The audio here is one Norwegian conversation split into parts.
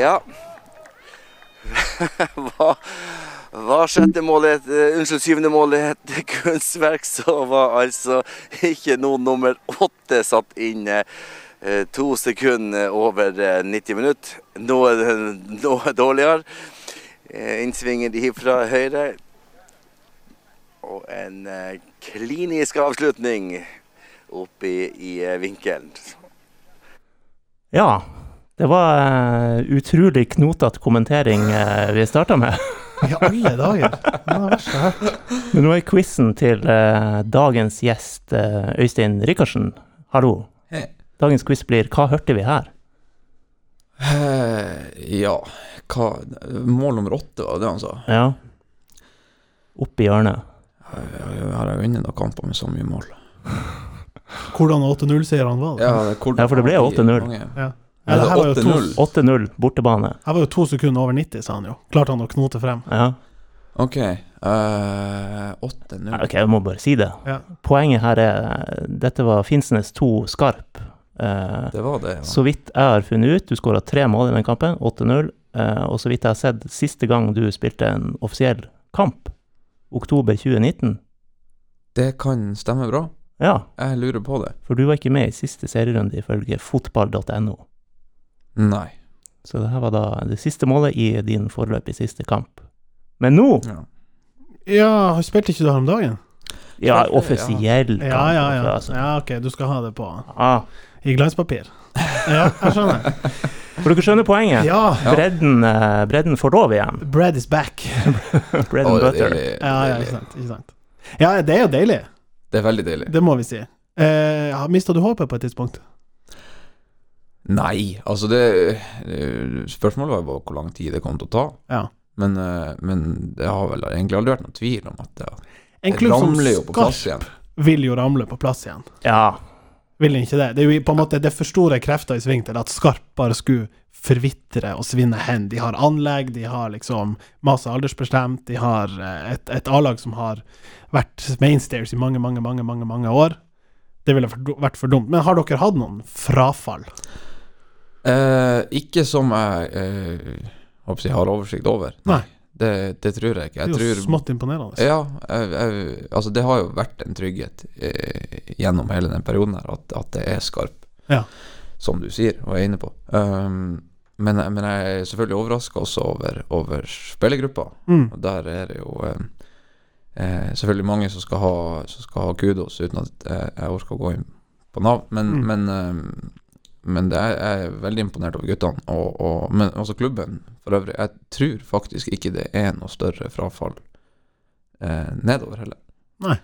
Ja. Hva, hva sjette målet het- eh, Unnskyld, syvende målet het kunstverk, så var altså ikke noe nummer åtte satt inn eh, eh, to sekunder over eh, 90 minutter. Noe, noe dårligere. Eh, Innsvinger de fra høyre. Og en eh, klinisk avslutning oppe i, i eh, vinkelen. Ja, det var eh, utrolig knotete kommentering eh, vi starta med. I alle dager! Det er det verste jeg har hørt. Men nå er quizen til eh, dagens gjest, eh, Øystein Rikardsen. Hallo. Hei. Dagens quiz blir 'Hva hørte vi her?' Eh, ja, hva Mål nummer åtte, var det altså. han sa? Ja. Opp i hjørnet. Jeg har jo vunnet noen kamper med så mye mål. Hvordan 8-0-seierne var. det? Ja, hvordan- Ja, for det ble 8-0. Mange- Ja, det her var jo to, 8-0. 8-0, bortebane. her var jo to sekunder over 90, sa han jo. Klarte han å knote frem. Ja. Ok. eh, 8-0. Nei, Ah, Ok, jeg må bare si det. Ja. Poenget her er dette var Finnsnes 2 skarp. Eh, Det var det, ja. så vidt jeg har funnet ut, du skåra tre mål i den kampen, 8-0. Eh, og så vidt jeg har sett, siste gang du spilte en offisiell kamp, oktober 2019. Det kan stemme bra. Ja, Jeg lurer på det. for du var ikke med i siste serierunde ifølge fotball.no. Nei. Så det her var da det siste målet i din foreløpig siste kamp. Men nå! Ja. Ja, han spilte ikke du her om dagen? Ja, Selvfølgelig, ja. offisiell kamp. Ja, ja, ja. altså. ja ok, du skal ha det på Ah, I glanspapir. Ja, jeg skjønner. for dere skjønner poenget? Ja, Bredden, eh, bredden får lov igjen. bread is back. Bread Å, and det er butter. deilig, Ja, ja, deilig. ikke sant. Ikke sant. Ja, det er jo deilig. Det er veldig deilig. Det må vi si. Eh, Mista du håpet på et tidspunkt? Nei, altså det eh, Spørsmålet var jo bare hvor lang tid det kom til å ta. Ja. Men, eh, men det har vel egentlig aldri vært noen tvil om at det, En det klubb som ramler jo på plass Skarp igjen. vil jo ramle på plass igjen. Ja. Vil den ikke det? Det er jo i- på en måte det er for store krefter i sving til at Skarp bare skulle forvitre og svinne hen. De har anlegg, de har liksom masse aldersbestemt, de har eh, et, et A-lag som har vært mainstairs i mange, mange, mange, mange, mange år. Det ville for- vært for dumt. Men har dere hatt noen frafall? Eh, ikke som jeg eh, håper jeg har oversikt over. Nei. Det, det tror jeg Det ikke. Jeg er jo tror smått imponerende. Ja, jeg, jeg, altså det har jo vært en trygghet eh, gjennom hele den perioden her, at, at det er skarp, Ja. som du sier og er inne på. Um, men, jeg- men jeg er selvfølgelig overraska også over, over spillergruppa. Mm. Og der er det jo eh, eh, selvfølgelig mange som skal, ha, som skal ha kudos, uten at jeg, jeg orker å gå inn på Nav. Men, Mm. men, eh, men det er, jeg er veldig imponert over guttene, og, og men også klubben for øvrig. Jeg tror faktisk ikke det er noe større frafall eh, nedover heller. Nei.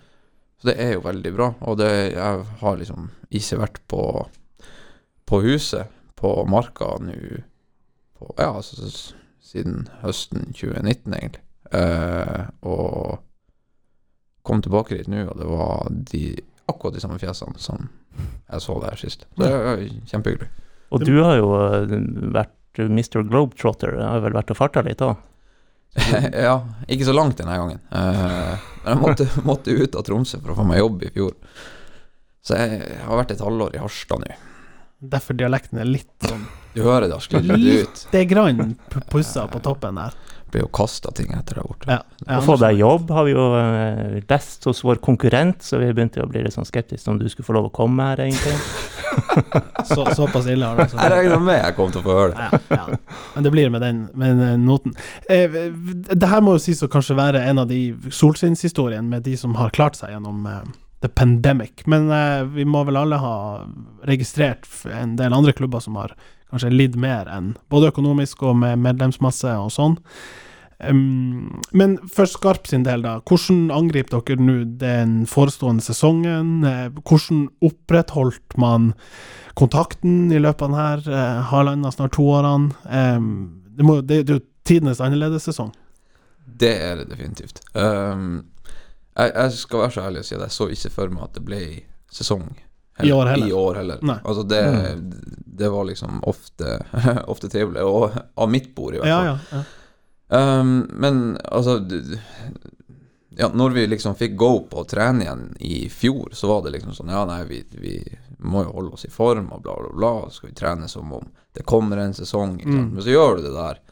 Så det er jo veldig bra, og det, jeg har liksom ikke vært på, på huset, på marka nå på, Ja, altså s- siden høsten 2019, egentlig. Eh, og kom tilbake dit nå, og det var de, akkurat de samme fjesene som jeg så der sist. Så det er kjempehyggelig. Og du har jo eh, vært Mr. Globetrotter. Jeg har vel vært og farta litt òg? ja, ikke så langt denne gangen. Eh, men jeg måtte, måtte ut av Tromsø for å få meg jobb i fjor. Så jeg har vært et halvår i Harstad nå. Derfor dialekten er litt sånn Du hører det har sklidd litt ut. Lite grann p- pussa på toppen der. Blir jo kasta ting etter der borte. Ja. Ja, Og få deg jobb har vi jo eh, lest hos vår konkurrent, så vi begynte jo å bli litt sånn skeptiske om du skulle få lov å komme her, egentlig. så, såpass ille har det altså. Jeg regna med jeg kom til å få høre det. Ja, ja. Men det blir med den, med den noten. Eh, v- det her må jo sies å kanskje være en av de solskinnshistoriene med de som har klart seg gjennom eh, the pandemic. Men eh, vi må vel alle ha registrert f- en del andre klubber som har kanskje lidd mer enn både økonomisk og med medlemsmasse og sånn. Um, men for Skarp sin del, da. Hvordan angriper dere nå den forestående sesongen? Eh, Hvordan opprettholdt man kontakten i løpet av denne her, eh, halvannet, snart to årene? Um, det, må, det, det er jo tidenes annerledes sesong. Det er det definitivt. Ehm, jeg, jeg skal være så ærlig og si at jeg så ikke for meg at det ble sesong I år heller. I år heller. Nei. Mm. Altså det, det var liksom ofte, ofte trivelig, og av mitt bord i hvert Ja, fall. ja, ja. Ehm, men altså d- d- ja, Når vi liksom fikk go på å trene igjen i fjor, så var det liksom sånn Ja, nei, vi, vi, vi må jo holde oss i form og bla, bla, bla. og Så skal vi trene som om det kommer en sesong. Ikke sant? Mm. Men så gjør du det der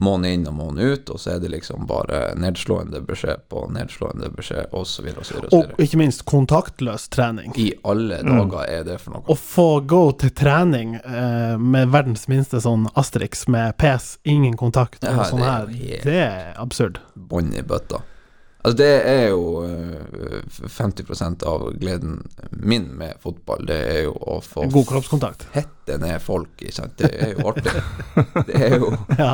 måned inn og måned ut, og så er det liksom bare nedslående beskjed på nedslående beskjed, og så videre og så videre. Og så Og videre. ikke minst kontaktløs trening. I alle Mm. dager er det for noe. Å få gå til trening eh, med verdens minste sånn Asterix med PS, ingen kontakt og Ja, sånn her, det er jo helt- det er absurd. bånd i bøtta. Altså det er jo eh, 50 av gleden min med fotball, det er jo å få God kroppskontakt. fette ned folk, ikke sant. Det er jo artig. Det er jo, det Ja,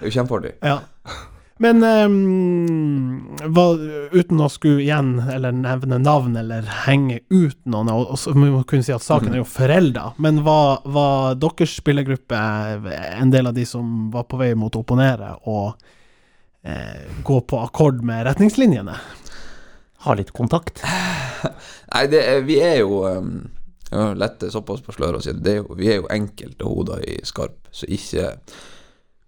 er jo kjempeartig. ja. Men ehm, hva, uten å skulle igjen eller nevne navn eller henge ut noen, og, og så må vi kunne si at saken er jo forelda, men var, var deres spillergruppe en del av de som var på vei mot å opponere og eh, gå på akkord med retningslinjene? Ha litt kontakt. Nei, det er, vi er jo um, lette såpass på sløret å si det. det. er jo- Vi er jo enkelte hoder i skarp som ikke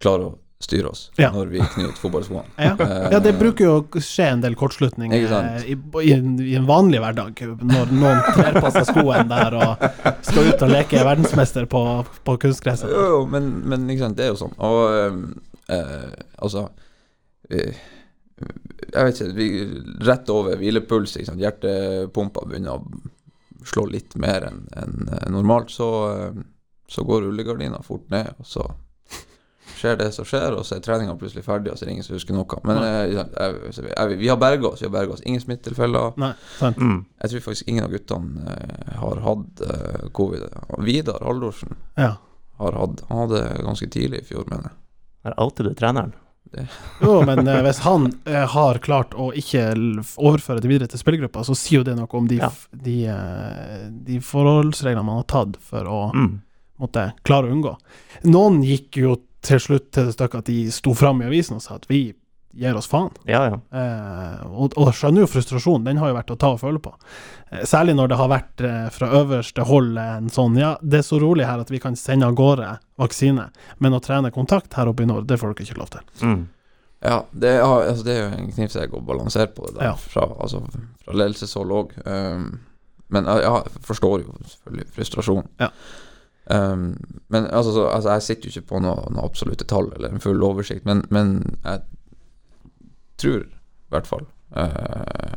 klarer å styre oss Ja. når vi knyter fotballskoene. Ja. Eh, Ja, det bruker jo å skje en del kortslutning Ikke sant? eh, i, i, en, i en vanlig hverdag, når noen trer på seg skoen der og skal ut og leke verdensmester på, på kunstgresset. Jo, jo, men, men ikke sant, det er jo sånn. Og ehm, eh, altså eh, Jeg vet ikke, vi, rett over hvilepuls, ikke sant. Hjertepumpa begynner å slå litt mer enn enn normalt, så, eh, så går rullegardina fort ned, og så skjer det som skjer, og så er treninga plutselig ferdig, og så er det ingen som husker noe. Men eh, ikke sant, jeg, så vi- jeg, vi har berga oss, vi har berga oss. Ingen smittetilfeller. Nei, sant. Mm. Jeg tror faktisk ingen av guttene eh, har hatt eh, covid. Vidar Haldorsen Ja. har hatt. Han hadde ganske tidlig i fjor, mener jeg. Der outer du treneren. Jo, men eh, hvis han eh, har klart å ikke l- overføre det videre til spillergruppa, så sier jo det noe om de, Ja. f- de, eh, de forholdsreglene man har tatt for å Mm. måtte klare å unngå. Noen gikk jo til slutt til det stykket at de sto fram i avisen og sa at vi gir oss faen. Ja, ja. Eh, og, og jeg skjønner jo frustrasjonen, den har jo vært å ta og føle på. Eh, særlig når det har vært eh, fra øverste hold eh, en sånn Ja, det er så rolig her at vi kan sende av gårde vaksine, men å trene kontakt her oppe i nord, det får dere ikke lov til. Mm. Ja, det er, altså, det er jo en knivsegg å balansere på det Ja. der, fra, altså, fra ledelseshold òg. Um, men ja, jeg forstår jo selvfølgelig frustrasjonen. Ja. Um, men altså, så, altså, jeg sitter jo ikke på noen noe absolutte tall eller en full oversikt, men, men jeg tror i hvert fall eh,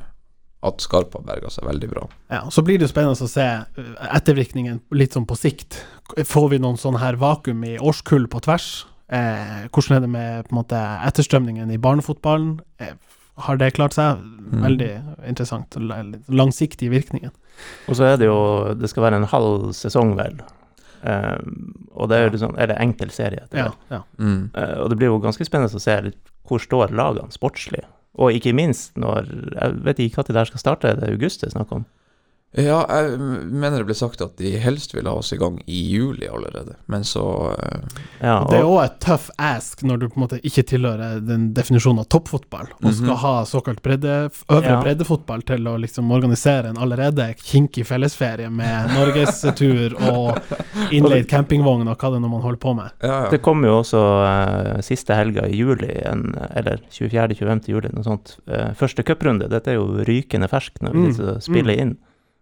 at Skarp har berga seg veldig bra. Ja, og Så blir det jo spennende å se eh, ettervirkningen litt sånn på sikt. Får vi noen sånn her vakuum i årskull på tvers? Eh, hvordan er det med på en måte etterstrømningen i barnefotballen? Eh, har det klart seg? Veldig interessant. l- Langsiktige virkninger. Og så er det jo Det skal være en halv sesong, vel. Eh, og det er jo liksom, er det enkel serie. etter Ja, hvert. ja. Mm. Eh, og det blir jo ganske spennende å se litt hvor står lagene sportslig. Og ikke minst når Jeg vet ikke når det her skal starte, det er august det er snakk om. Ja, jeg mener det ble sagt at de helst ville ha oss i gang i juli allerede, men så eh, Ja, Det er og, jo et tøff ask når du på en måte ikke tilhører den definisjonen av toppfotball, og skal Mhm. ha såkalt bredde, øvre Ja. breddefotball til å liksom organisere en allerede kinkig fellesferie med norgestur og innleid campingvogn og hva det er når man holder på med. Ja, ja. det kommer jo også eh, siste helga i juli, en, eller 24.-25. juli, noe sånt. Eh, første cuprunde. Dette er jo rykende ferskt når vi Mm, sitter og spiller inn.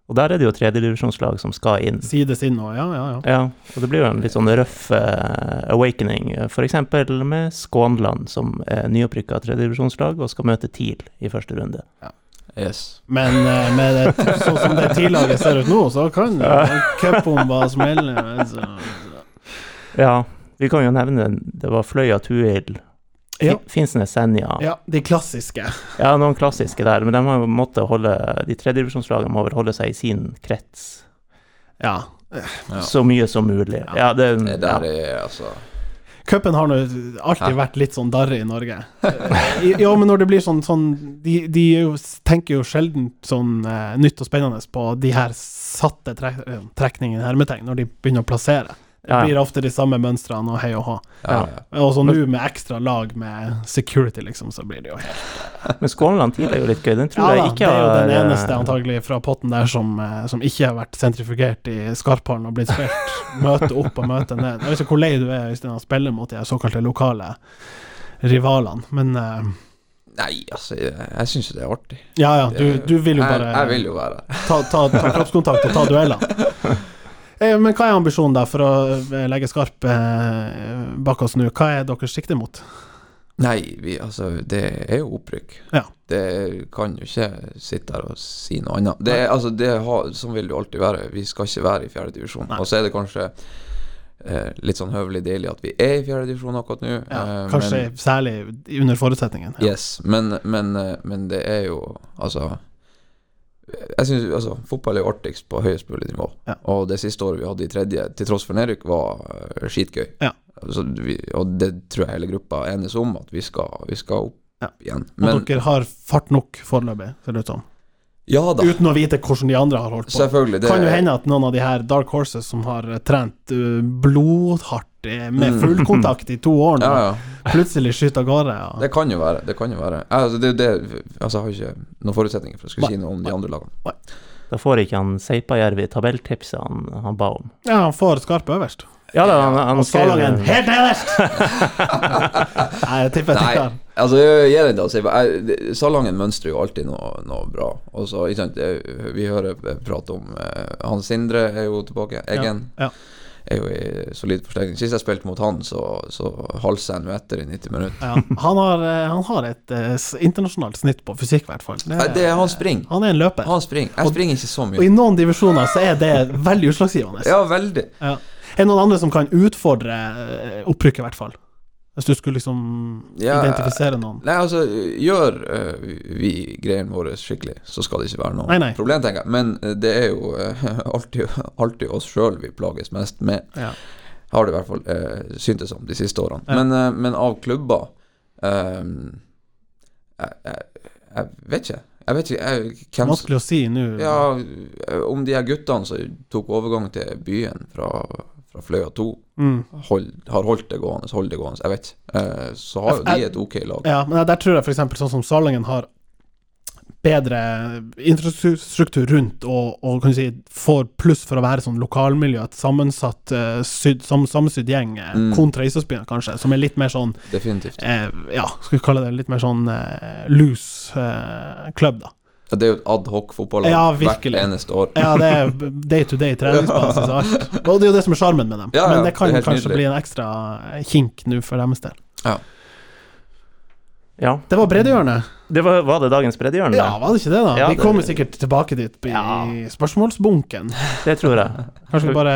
Og der er det jo tredjedivisjonslag som skal inn. Sides inn og ja, ja, ja. Ja, og det blir jo en litt sånn røff eh, awakening, f.eks. med Skånland, som er nyopprykka tredjedivisjonslag og skal møte TIL i første runde. Yes. Men eh, med det, sånn som det tidlaget ser ut nå, så kan Ja. eh, cupbomba smelle. Altså. Ja, vi kan jo nevne det var Fløya Tuil, Ja. Fi- Finnsnes Senja. Ja. Ja, de klassiske. noen klassiske der, men de har jo måttet holde De tredjedivisjonslagene må vel holde seg i sin krets Ja. Ja. så mye som mulig. Ja, det, Mm. Det ja. der er altså Cupen har nå alltid vært litt sånn darrig i Norge. Eh, I- Ja, men når det blir sånn, sånn De, de er jo, tenker jo sjelden sånn eh, nytt og spennende på de her satte trek, eh, trekningene, hermetegn, når de begynner å plassere. Det Ja. blir ofte de samme mønstrene og hei og hå. ja, Ja. ja. Og så nå med ekstra lag med security, liksom, så blir det jo helt Men Skånland TIL er jo litt gøy. Den Ja tror da, jeg det ikke er jo den har, eh, eneste antagelig fra potten der som, eh, som ikke har vært sentrifugert i Skarphallen og blitt spilt møte opp og møte ned. Jeg vet ikke hvor lei du er Øystein, av å spille mot de her såkalte lokale rivalene, men eh, Nei, altså, jeg, jeg syns jo det er artig. Ja, ja, du, Det- du vil jo bare Jeg, jeg vil jo være her. ta, ta, ta kroppskontakt og ta dueller. Eh, Men hva er ambisjonen, da, for å eh, legge skarp eh, bak oss nå? Hva er deres sikte mot? Nei, vi, altså, det er jo opprykk. Ja. Det kan jo ikke sitte her og si noe annet. Det, er- altså, det har, sånn vil det jo alltid være. Vi skal ikke være i fjerde divisjon. Nei. Og så er det kanskje eh, litt sånn høvelig deilig at vi er i fjerde divisjon akkurat nå. Ja, eh, kanskje men, særlig under forutsetningen. Ja. Yes, men, men, eh, men det er jo Altså jeg synes, altså, Fotball er jo artigst på høyest mulig nivå. Ja. Og det siste året vi hadde i tredje, til tross for nedrykk, var eh, skitgøy. Ja. Så vi, og det tror jeg hele gruppa enes om, at vi skal, vi skal opp Ja. igjen. Og Men dere har fart nok foreløpig, ser det ut som. ja da, Uten å vite hvordan de andre har holdt på. selvfølgelig. Det kan jo hende at noen av de her Dark Horses som har eh, trent eh, blodhardt eh, med Mm. fullkontakt i to år, nå, ja, ja. plutselig skyter av gårde. Ja. Det kan jo være. Det kan jo være. Altså, det, er jo det, altså, jeg har jo ikke noen forutsetninger for å skulle Nei. si noe om de andre lagene. Da får ikke han Seipajärvi tabelltipset han, han ba om. ja, han får skarp øverst. Ja da, han, han Og skrev Skallangen helt nederst! Nei, jeg tipper jeg Nei, tikker. altså jeg gir den til å si jeg- det- Salangen mønstrer jo alltid noe, noe bra. Og så, ikke sant, det- vi hører prat om eh, Han Sindre er jo tilbake. Eggen ja. er jo i solid forsterkning. Sist jeg spilte mot han, så, så halsa jeg nå etter i 90 minutter. Ja, han, har, eh, han har et eh, s- internasjonalt snitt på fysikk, i hvert fall. Det- Nei, Det er han springer. Han er en løper. Han springer. Jeg Og- springer ikke så Og i mye. noen divisjoner så er det veldig utslagsgivende. Ja, veldig. Ja. Er det noen andre som kan utfordre eh, opprykket, i hvert fall? Hvis du skulle liksom Ja, eh, identifisere noen. Nei, altså, gjør eh, vi greiene våre skikkelig, så skal det ikke være noe Nei, nei. problem, tenker jeg. Men eh, det er jo eh, alltid, alltid oss sjøl vi plages mest med, Ja. har det i hvert fall eh, syntes om de siste årene. Ja. Men, eh, men av klubber eh, jeg, jeg, jeg vet ikke. Jeg vet ikke jeg, hvem som Vanskelig å si nå. ja, eh, om de her guttene som tok overgang til byen fra, fra Fløya 2, Mm. hold, har holdt det gående, holdt det gående, jeg vet ikke. Eh, så har jo Jeg- de et ok lag. Ja, men der tror jeg f.eks. sånn som Salangen har bedre infrastruktur rundt og, og kan du si, får pluss for å være sånn lokalmiljø, et sammensatt eh, syd, sam, sammensydd gjeng, eh, Mm. kontra Isåsbyen kanskje, som er litt mer sånn, Definitivt. eh, ja, skal vi kalle det litt mer sånn eh, loose eh, klubb, da. Ja, Det er jo et adhoc fotballag Ja, hvert virkelig. eneste år. Ja, det er day to day treningsbasis og alt. Og det er jo det som er sjarmen med dem. Ja, ja, Men det kan det er helt kanskje nydelig. bli en ekstra eh, kink nå for deres del. Ja. Det var breddehjørnet. Det var, var det dagens breddehjørne? Ja, var det ikke det, da? Ja, vi det- kommer sikkert tilbake dit i Ja. spørsmålsbunken. Det tror jeg. Kanskje vi bare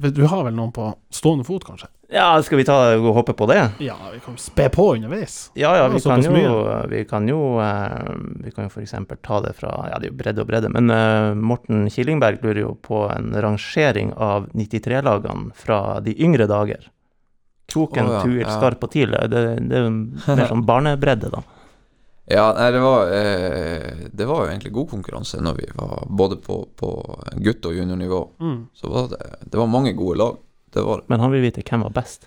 eh, Du har vel noen på stående fot, kanskje? Ja, skal vi ta og hoppe på det? Ja, vi kan spe på underveis. Ja, ja, Ja, vi kan såpass jo mye. Vi kan jo, eh, vi kan jo for eksempel ta det fra Ja, det er jo bredde og bredde, men eh, Morten Killingberg lurer jo på en rangering av 93-lagene fra de yngre dager. Kroken, Å, ja, Tuil, ja. Skarp og Tidlig. Det, det er jo mer sånn barnebredde, da. Ja, nei, det var, eh, det var jo egentlig god konkurranse når vi var både på, på gutt- og juniornivå. Mm. Så var det, det var mange gode lag. Det var Men han vil vite hvem var best.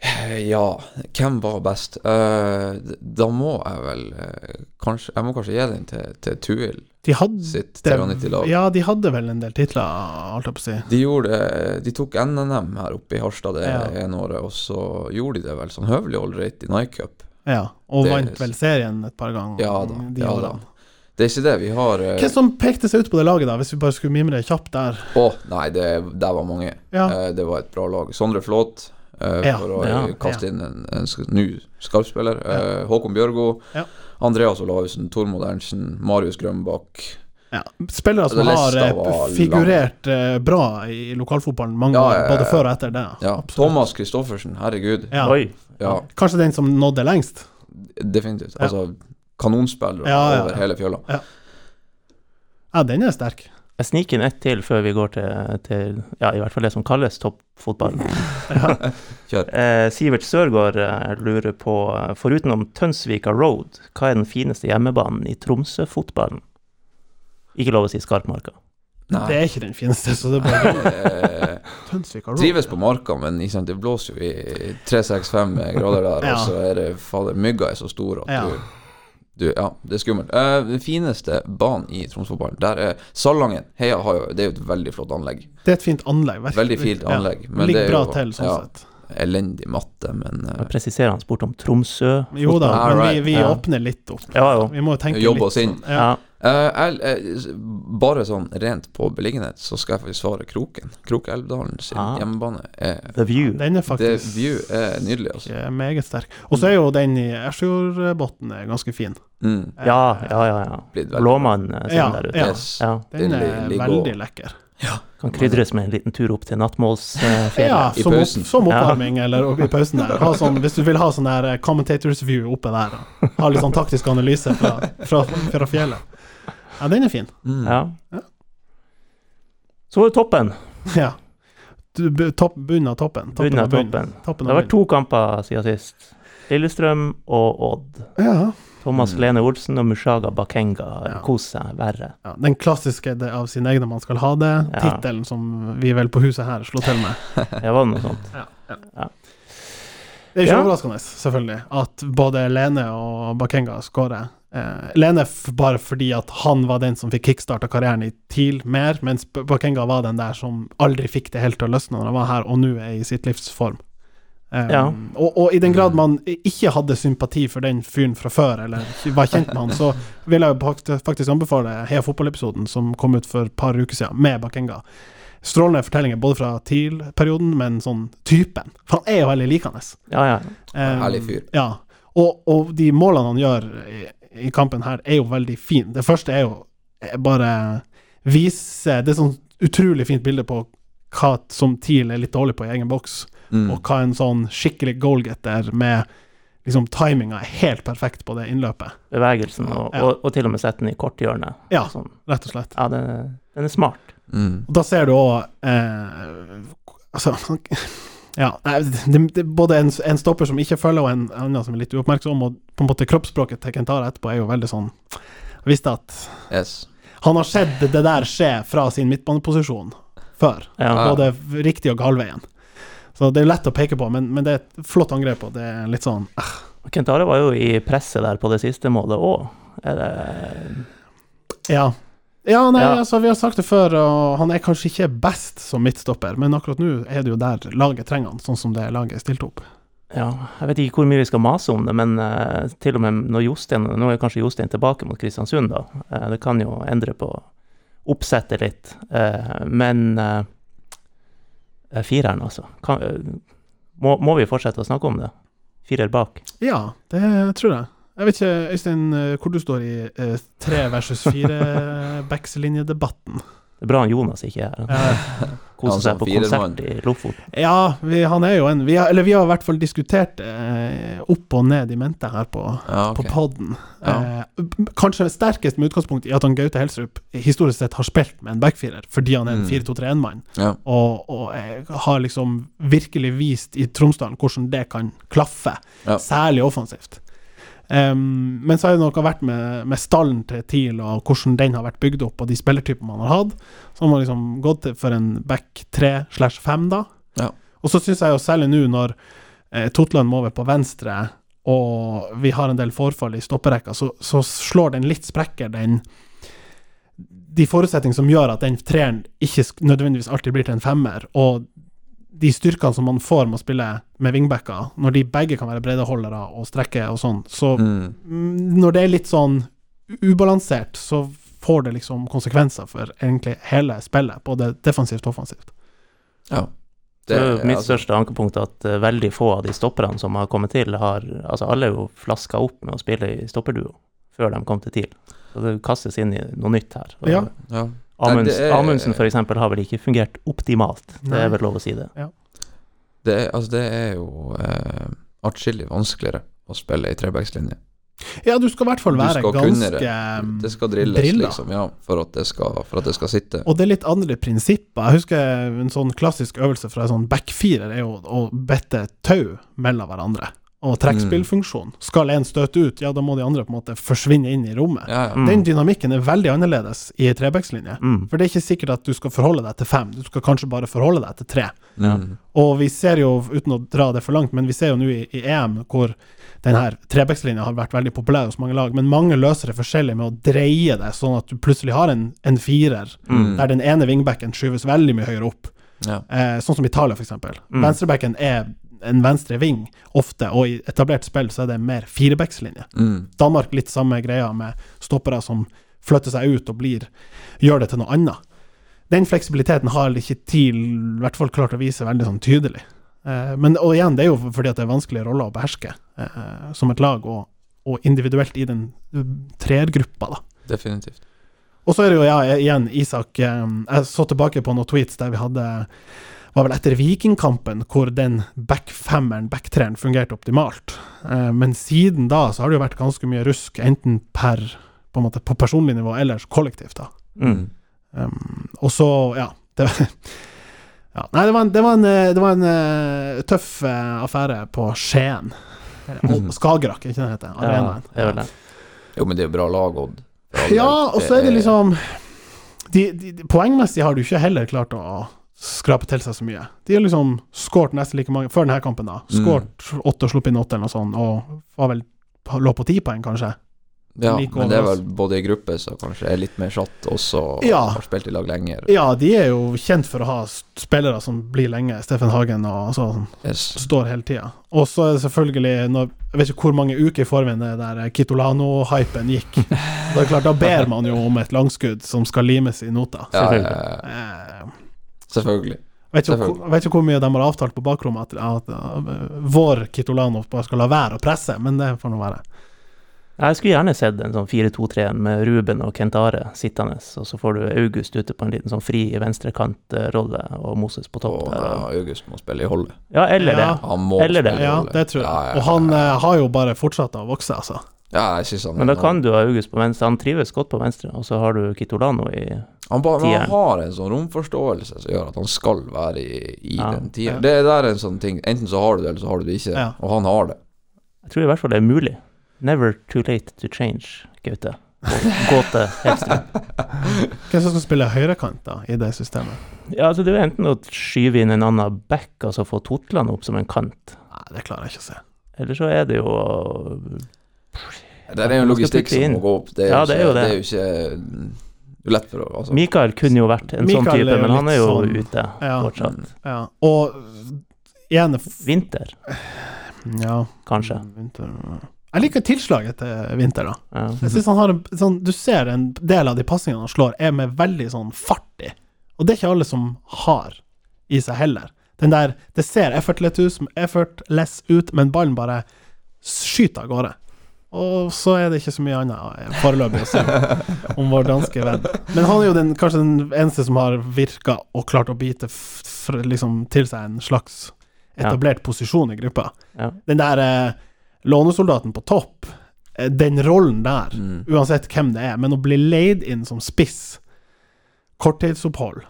Eh, Ja, hvem var best? Eh, d- da må jeg vel eh, kanskje Jeg må kanskje gi den til, til Tuil De hadde sitt 93-lag. Ja, de hadde vel en del titler, holdt jeg på å si. De gjorde det- De tok NNM her oppe i Harstad det Ja. ene året, og så gjorde de det vel sånn høvelig ålreit i Nike Cup. Ja, og Det- vant vel serien et par ganger. Ja da, de ja da. årene. Det er ikke det. Vi har eh, Hvem som pekte seg ut på det laget, da, hvis vi bare skulle mimre kjapt der? Å, nei, det, der var mange. Ja. Eh, det var et bra lag. Sondre Flåt, eh, Ja, for å ja, eh, kaste inn en, en sk- ny skarpspiller. Eh, Håkon Bjørgo. Ja. Andreas Olavsen, Tormod Ernstsen, Marius Grønbakk. Ja. Spillere som Altså, har lista eh, var lang. figurert eh, bra i lokalfotballen mange Ja, år, ja, ja, både ja. før og etter det. Ja. Absolutt. Thomas Christoffersen, herregud. Ja. Oi. Ja, Kanskje den som nådde lengst. definitivt. Ja. Altså, kanonspillere Ja, ja, over ja. hele fjøla. Ja, den er sterk. Jeg sniker inn ett til før vi går til, til ja, i hvert fall det som kalles toppfotball. Kjør. Eh, Sivert Sørgaard eh, lurer på, eh, foruten om Tønsvika Road, hva er den fineste hjemmebanen i Tromsø-fotballen? Ikke lov å si Skarpmarka. Det Nei. er ikke den fineste, så det er bare Eh, Tønsvik og Roar. Trives på marka, men ikke sant, det blåser jo i 365 grader der, Ja. og så er det fader, mygga er så stor at Ja. du du, ja, det er skummelt. Eh, den fineste banen i Tromsøfotballen, der er Salangen. Heia har jo Det er jo et veldig flott anlegg. Det er et fint anlegg. virkelig. Veldig fint anlegg. Ja. Ligger bra til, sånn ja, sett. elendig matte, men eh, Nå presiserer han spurt om Tromsø. Jo da, All men vi, right, vi ja. åpner litt opp. Ja jo. Vi må jo tenke Jobbe litt oss inn. sånn. Ja. Ja. Eh, jeg- jeg- bare sånn rent på beliggenhet, så skal jeg faktisk svare Kroken. Krokelvdalen sin Ah. hjemmebane er The View. Den er The faktisk View er nydelig, altså. eh, meget sterk. Og så er jo den i Ersfjordbotn eh, ganske fin. Mm. Eh, Ja, ja, ja. ja. Blitt veldig Blåmann eh, sin Ja, der ute. ja. Yes. Ja. Den Den er li- ligger veldig og- lekker. Kan krydres med en liten tur opp til Ja, Nattmålsfjellet. I som, opp, pausen. som oppvarming eller opp i pausen der. Ha sånn, hvis du vil ha sånn der eh, commentators view oppe der, og ha litt sånn taktisk analyse fra, fra, fra fjellet. Ja, den er fin. Mm. Ja. Ja. Så var det toppen. Ja. Du, bu- topp, bunnen av toppen. Toppen Bunnen av av toppen. Toppen Det har av vært to kamper siden sist. Lillestrøm og Odd. Ja. Thomas Mm. Lene Olsen og Mushaga Bakenga Ja. koser seg verre. ja. Den klassiske det av sine egne man skal ha det. Ja. Tittelen som vi vel på huset her slo til med. Det var noe sånt. Ja, Ja. Det er ikke Ja. overraskende, selvfølgelig, at både Lene og Bakenga skårer. Eh, Lene f bare fordi at han var den som fikk kickstarta karrieren i TIL mer, mens B- Bakenga var den der som aldri fikk det helt til å løsne når han var her, og nå er i sitt livs form. Eh, Ja. og, og i den grad man ikke hadde sympati for den fyren fra før, eller ikke var kjent med han, så vil jeg jo fakt- faktisk anbefale Heia fotball-episoden som kom ut for et par uker siden, med Bakenga. Strålende fortellinger både fra TIL-perioden, men sånn typen. For han er jo veldig likende. Ja, ja. Eh, Herlig fyr. Ja. Og, og de målene han gjør i, i kampen her, er jo veldig fine. Det første er jo eh, bare vise Det er sånn utrolig fint bilde på hva som TIL er litt dårlig på i egen boks, Mm. og hva en sånn skikkelig goalgetter med liksom timinga er helt perfekt på det innløpet. Bevegelsen, og, Ja. og, og til og med sette den i korthjørnet. Ja. Sånn. Rett og slett. ja den, den er smart. Mm. Og da ser du òg eh, Altså ja, nei, det, det, både en, en stopper som ikke følger, og en annen som er litt uoppmerksom, og på en måte kroppsspråket til Kentara etterpå er jo veldig sånn Jeg Visste at Yes. han har sett det der skje fra sin midtbaneposisjon før, Ja. Ja. både riktig og halvveien. Så det er lett å peke på, men, men det er et flott angrep, og det er litt sånn eh, Og Kentare var jo i presset der på det siste målet òg. Ja. Ja, nei, Ja. altså, vi har sagt det før, og han er kanskje ikke best som midtstopper, men akkurat nå er det jo der laget trenger han, sånn som det laget er stilt opp. Ja, jeg vet ikke hvor mye vi skal mase om det, men eh, til og med når Jostein Nå er kanskje Jostein tilbake mot Kristiansund, da. Eh, det kan jo endre på oppsettet litt. Eh, men eh, eh, fireren, altså. Kan, eh, må, må vi fortsette å snakke om det? Firer bak. Ja, det tror jeg. Jeg vet ikke, Øystein, eh, hvor du står i eh, tre versus fire backslinjedebatten. Det er bra han Jonas ikke er her. Han Eh, koser altså, seg på firermann. konsert i Lofoten. ja, vi, han er jo en vi har, Eller vi har i hvert fall diskutert eh, opp og ned i mente her på, Ja, Ah, ok. på podden. Ja. Eh, kanskje sterkest med utgangspunkt i at han Gaute Helstrup historisk sett har spilt med en backfirer, fordi han er en Mm. 4-2-3-1-mann, Ja. og, og eh, har liksom virkelig vist i Tromsdalen hvordan det kan klaffe. Ja. Særlig offensivt. Ehm, men så har det noe vært med, med stallen til TIL, og hvordan den har vært bygd opp, og de spillertyper man har hatt. Så har man liksom gått til for en back 3 slash 5, da. Ja. Og så syns jeg jo særlig nå, når eh, Totland må over på venstre, og vi har en del forfall i stopperekka, så, så slår den litt sprekker, den De forutsetningene som gjør at den treeren ikke sk- nødvendigvis alltid blir til en femmer, og de styrkene som man får med å spille med wingbacker, når de begge kan være breddeholdere og strekke og sånn, så Mm. mm, når det er litt sånn ubalansert, så får det liksom konsekvenser for egentlig hele spillet, både defensivt og offensivt. ja. Det er jo er mitt altså- største ankepunkt at eh, veldig få av de stopperne som har kommet til, har Altså, alle er jo flaska opp med å spille i stopperduo før de kom til TIL. Så det kastes inn i noe nytt her. Og Ja. Ja. Amunds, Nei, det er- Amundsen for eksempel har vel ikke fungert optimalt, det Nei. er vel lov å si det. Det, er- altså, det er jo eh, atskillig vanskeligere å spille i trebackslinje. Ja, du skal i hvert fall Du være skal kunne ganske det. mm, Det skal drilles, drilla. liksom. Ja, for at det skal, for at det skal sitte. Og det er litt andre prinsipper. Jeg husker en sånn klassisk øvelse fra en sånn backfirer er jo å bette tau mellom hverandre. Og Mm. trekkspillfunksjon. Skal én støte ut, ja, da må de andre på en måte forsvinne inn i rommet. Ja, ja. Mm. Den dynamikken er veldig annerledes i ei trebackslinje. Mm. For det er ikke sikkert at du skal forholde deg til fem, du skal kanskje bare forholde deg til tre. Ja. Mm. Og vi ser jo, uten å dra det for langt, men vi ser jo nå i, i EM hvor den her trebackslinja har vært veldig populær hos mange lag, men mange løser det forskjellig med å dreie det, sånn at du plutselig har en, en firer, Mm. der den ene vingbacken skyves veldig mye høyere opp. Ja. Eh, sånn som Italia, f.eks. Mm. Venstrebacken er en venstre ving ofte, og i etablert spill så er det mer firebackslinje. Mm. Danmark litt samme greia med stoppere som flytter seg ut og blir, gjør det til noe annet. Den fleksibiliteten har ikke TIL i hvert fall klart å vise veldig sånn tydelig. Eh, men og igjen, det er jo fordi at det er vanskelige roller å beherske eh, som et lag, og, og individuelt i den treergruppa, da. Definitivt. Og så er det jo, ja, igjen, Isak eh, Jeg så tilbake på noen tweets der vi hadde var vel etter Vikingkampen, hvor den back-femmeren, back-treeren, fungerte optimalt. Eh, Men siden da så har det jo vært ganske mye rusk, enten per, på, en måte, på personlig nivå eller kollektivt. da. Mm. Um, og så, ja det, var- ja. Nei, det var en, det var en, eh, det var en eh, tøff eh, affære på Skien. Eller, Mhm. Skagerrak, er ikke det det heter? Ja, Arenaen. det er vel det. Jo, men det er jo bra lag, Odd. For all Ja, del. og så er det liksom de, de, de, Poengmessig har du ikke heller klart å skrape til seg så mye. De har liksom skåret nesten like mange før denne kampen, da. Skåret åtte og sluppet inn åtte, eller noe sånt, og var vel lå på ti poeng, kanskje. Ja, like men det er over vel både i gruppe som kanskje er litt mer satt, og så Ja. har spilt i lag lenger. Ja, de er jo kjent for å ha s- spillere som blir lenge. Steffen Hagen og sånn. Yes. Står hele tida. Og så er det selvfølgelig når, Jeg vet ikke hvor mange uker i forveien det der Kitolano-hypen gikk. Da, er det klart, da ber man jo om et langskudd som skal limes i nota. Ja, Selvfølgelig. eh, Eh, selvfølgelig. Vet ikke, Selvfølgelig. hvor- vet ikke hvor mye de har avtalt på bakrommet at, at uh, vår Kitolano bare skal la være å presse, men det får nå være. Jeg skulle gjerne sett en sånn 4-2-3 med Ruben og Kentare sittende, og så får du August ute på en liten sånn fri venstrekant-rolle, og Moses på topp. Og der, ja, og- August må spille i holdet. Ja, eller Ja. det. Han må Eller det. spille i Ja, holdet. det tror jeg. Ja, ja, Og han eh, har jo bare fortsatt å vokse, altså. Ja, jeg synes han Men da kan du ha August på venstre, han trives godt på venstre, og så har du Kitolano i Han, bare, men tieren. han har en sånn romforståelse som gjør at han skal være i, i Ja. den tida. Ja. Det der er en sånn ting. Enten så har du det, eller så har du det ikke. Ja. Og han har det. Jeg tror i hvert fall det er mulig. Never too late to change, Gaute. Gåte Hedstrøm. Hvem som skal spille høyrekant da, i det systemet? Ja, altså det er jo enten å skyve inn en annen back, altså få Totland opp som en kant, Nei, det klarer jeg ikke å se. eller så er det jo Det er jo en Man skal logistikk putte som inn. må gå opp. Det er, Ja, jo det ikke, er jo det. det. er jo ikke mm, lett for å altså. Mikael kunne jo vært en sånn Mikael er type, jo men han er jo litt sånn- ute Ja. fortsatt. Ja. Og uh, igjen f- Vinter, Ja. kanskje. Vinter. Jeg liker tilslaget til Vinter, da. Ja. Jeg synes han har en sånn, Du ser en del av de passingene han slår, er med veldig sånn fart i. Og det er ikke alle som har i seg heller. Den der Det ser effortless ut, effortless ut men ballen bare skyter av gårde. Og så er det ikke så mye annet eh, foreløpig å si om vår danske venn. Men han er jo den, kanskje den eneste som har virka og klart å bite f f liksom til seg en slags etablert posisjon i gruppa. Ja. Den der eh, lånesoldaten på topp, eh, den rollen der, Mm. uansett hvem det er, men å bli leid inn som spiss, korttidsopphold,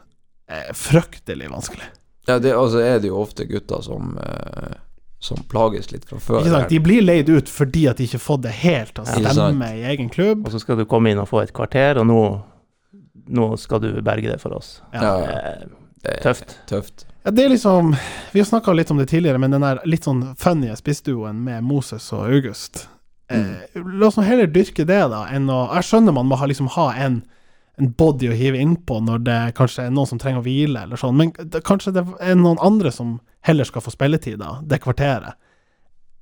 er fryktelig vanskelig. Ja, det, altså er det jo ofte gutter som eh, Som plages litt fra før. Ikke sant? De blir leid ut fordi at de ikke har fått det helt til å Ja. Ikke sant. stemme i egen klubb. Og så skal du komme inn og få et kvarter, og nå, nå skal du berge det for oss. ja, ja, Eh, det er Tøft. tøft. Ja, det er liksom Vi har snakka litt om det tidligere, men den der litt sånn funny spissduoen med Moses og August eh, La oss nå heller dyrke det, da, enn å Jeg skjønner man må ha, liksom ha en en body å hive innpå når det kanskje er noen som trenger å hvile, eller sånn, men det, kanskje det er noen andre som heller skal få spilletid, da, det kvarteret,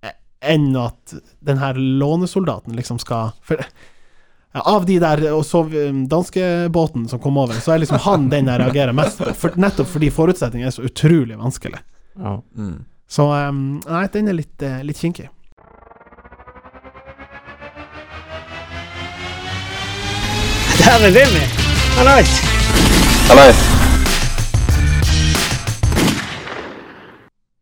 eh, enn at den her lånesoldaten liksom skal For ja, Av de der og så um, danskebåten som kom over, så er liksom han den jeg reagerer mest på. For, nettopp fordi forutsetningen er så utrolig vanskelig. Ja. Mm. Så um, nei, den er litt, eh, litt kinkig. Der er Jimmy. Hallais.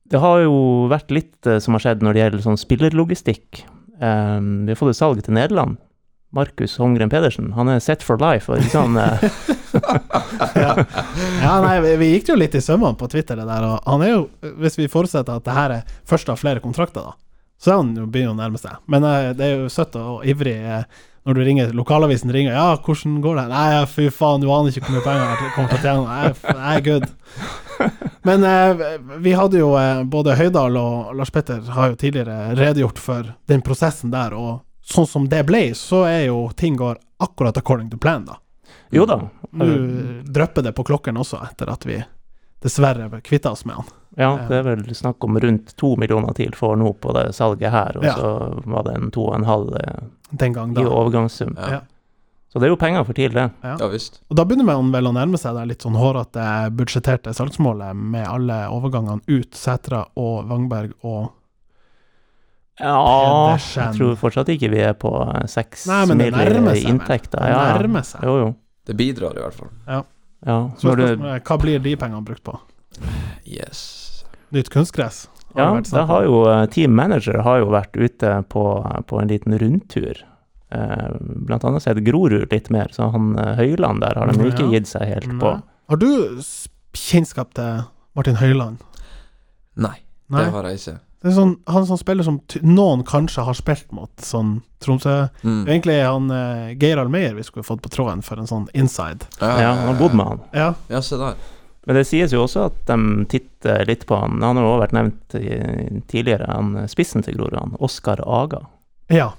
Det har jo vært litt eh, som har skjedd når det gjelder sånn spillerlogistikk. Eh, vi har fått et salg til Nederland. Markus Holmgren Pedersen. Han er set for life. Og liksom, eh, Ja, nei, vi, vi gikk det jo litt i sømmene på Twitter, det der, og han er jo Hvis vi forutsetter at det her er første av flere kontrakter, da, så er han jo begynner å nærme seg. Men eh, det er jo søtt og ivrig eh, når du ringer lokalavisen ringer Ja, hvordan går det? Nei, fy faen, du aner ikke hvor mye penger jeg kommer til å tjene. Nei, f- Nei, good. Men eh, vi hadde jo eh, Både Høydahl og Lars Petter har jo tidligere redegjort for den prosessen der, og sånn som det ble, så er jo ting går akkurat according to plan, da. jo da. Nå drypper det på klokken også, etter at vi dessverre kvitta oss med han. Ja, det er vel snakk om rundt to millioner til for nå på det salget her, og Ja. så var det en to og en halv eh, Den gang i da. overgangssum. Ja. Ja. Så Så det er jo penger for TIL, det. Ja visst. Og da begynner man vel å nærme seg det litt sånn hårete, budsjetterte salgsmålet med alle overgangene ut Sætra og Wangberg og Ja, jeg Pedersen. tror fortsatt ikke vi er på eh, seks Nei, men det mil nærmer i seg vel. inntekter. Det Ja, ja. nærmer seg. Jo, jo. Det bidrar i hvert fall. Ja. Så Når du, spørsmålet er, hva blir de pengene brukt på? Yes. Nytt kunstgress? har ja, det vært snakk det om. har jo eh, Team Manager har jo vært ute på, på en liten rundtur. Eh, Blant annet sett Grorud litt mer, så han eh, Høyland der har de jo ikke Mm, Ja. gitt seg helt på. Nei. Mm. Har du s- kjennskap til Martin Høiland? Nei, Nei. det har jeg ikke. Det er sånn, han som spiller som ty- noen kanskje har spilt mot, sånn Tromsø Mm. Det er Egentlig han eh, Geir Almeyer vi skulle fått på tråden for en sånn inside. Ja, han har bodd med han. Ja, Ja, se der. Men det sies jo også at de titter litt på han. Han har jo også vært nevnt i- tidligere, han eh, spissen til Grorud, han Oskar Aga. ja.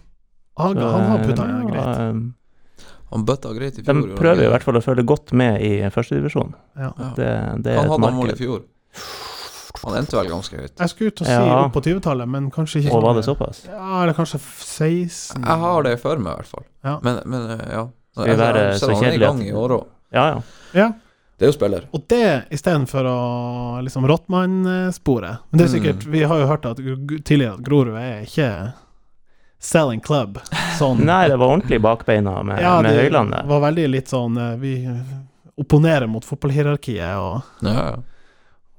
Aga, han har putta Så, ja, eh, greit. Han bøtta greit i De fjor. gjorde han prøver i ikke? hvert fall å følge godt med i førstedivisjon. Ja. Det, det er Han et hadde han mål i marked. fjor. Han endte vel ganske høyt. Jeg skulle ut og si Ja. opp på 20-tallet, men kanskje ikke Og var det sånn. såpass? Ja, eller kanskje f- 16 Jeg har det for meg, i hvert fall. Mm. Ja. Men, men eh, ja. Skal vi være Jeg ser så han er i kjedelige at- gang i år også. Ja, ja. Ja. Det er jo spiller. Og det istedenfor å liksom Rottmann-sporet. Men det er sikkert Vi har jo hørt at gr- gr- tidligere at Grorud er ikke selling club sånn. Nei, det var ordentlig i bakbeina med, ja, med det Høyland der. var veldig litt sånn eh, Vi opponerer mot fotballhierarkiet og, Ja, ja.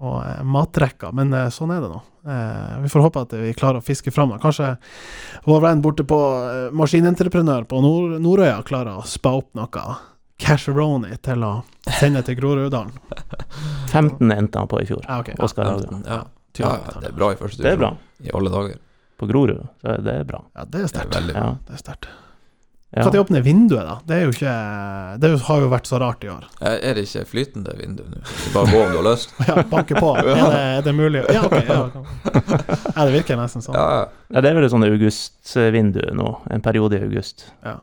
og eh, matrekka, men eh, sånn er det nå. Eh, Vi får håpe at vi klarer å fiske fram det. Kanskje vår venn borte på eh, maskinentreprenør på Nord Nordøya klarer å spa opp noe casheroni til å sende til Groruddalen. 15 endte han på i fjor. Ja, ok. Oskar Haga. Enten- ja. Ja, ja, det er bra i første Det er bra. I alle dager. På Grorud, så er det bra. Ja, det er Det er sterkt. veldig bra. Ja. Det er sterkt. ja. Når åpner vinduet, da? Det er jo ikke Det har jo vært så rart i år. Eh, Er det ikke flytende vindu nå? Bare gå om du har lyst. Ja, banke på. Er det, er det mulig? Ja, ok. Ja, ja det virker nesten sånn. Ja, ja. Nei, det er vel et sånt augustvindu nå, en periode i august. Ja.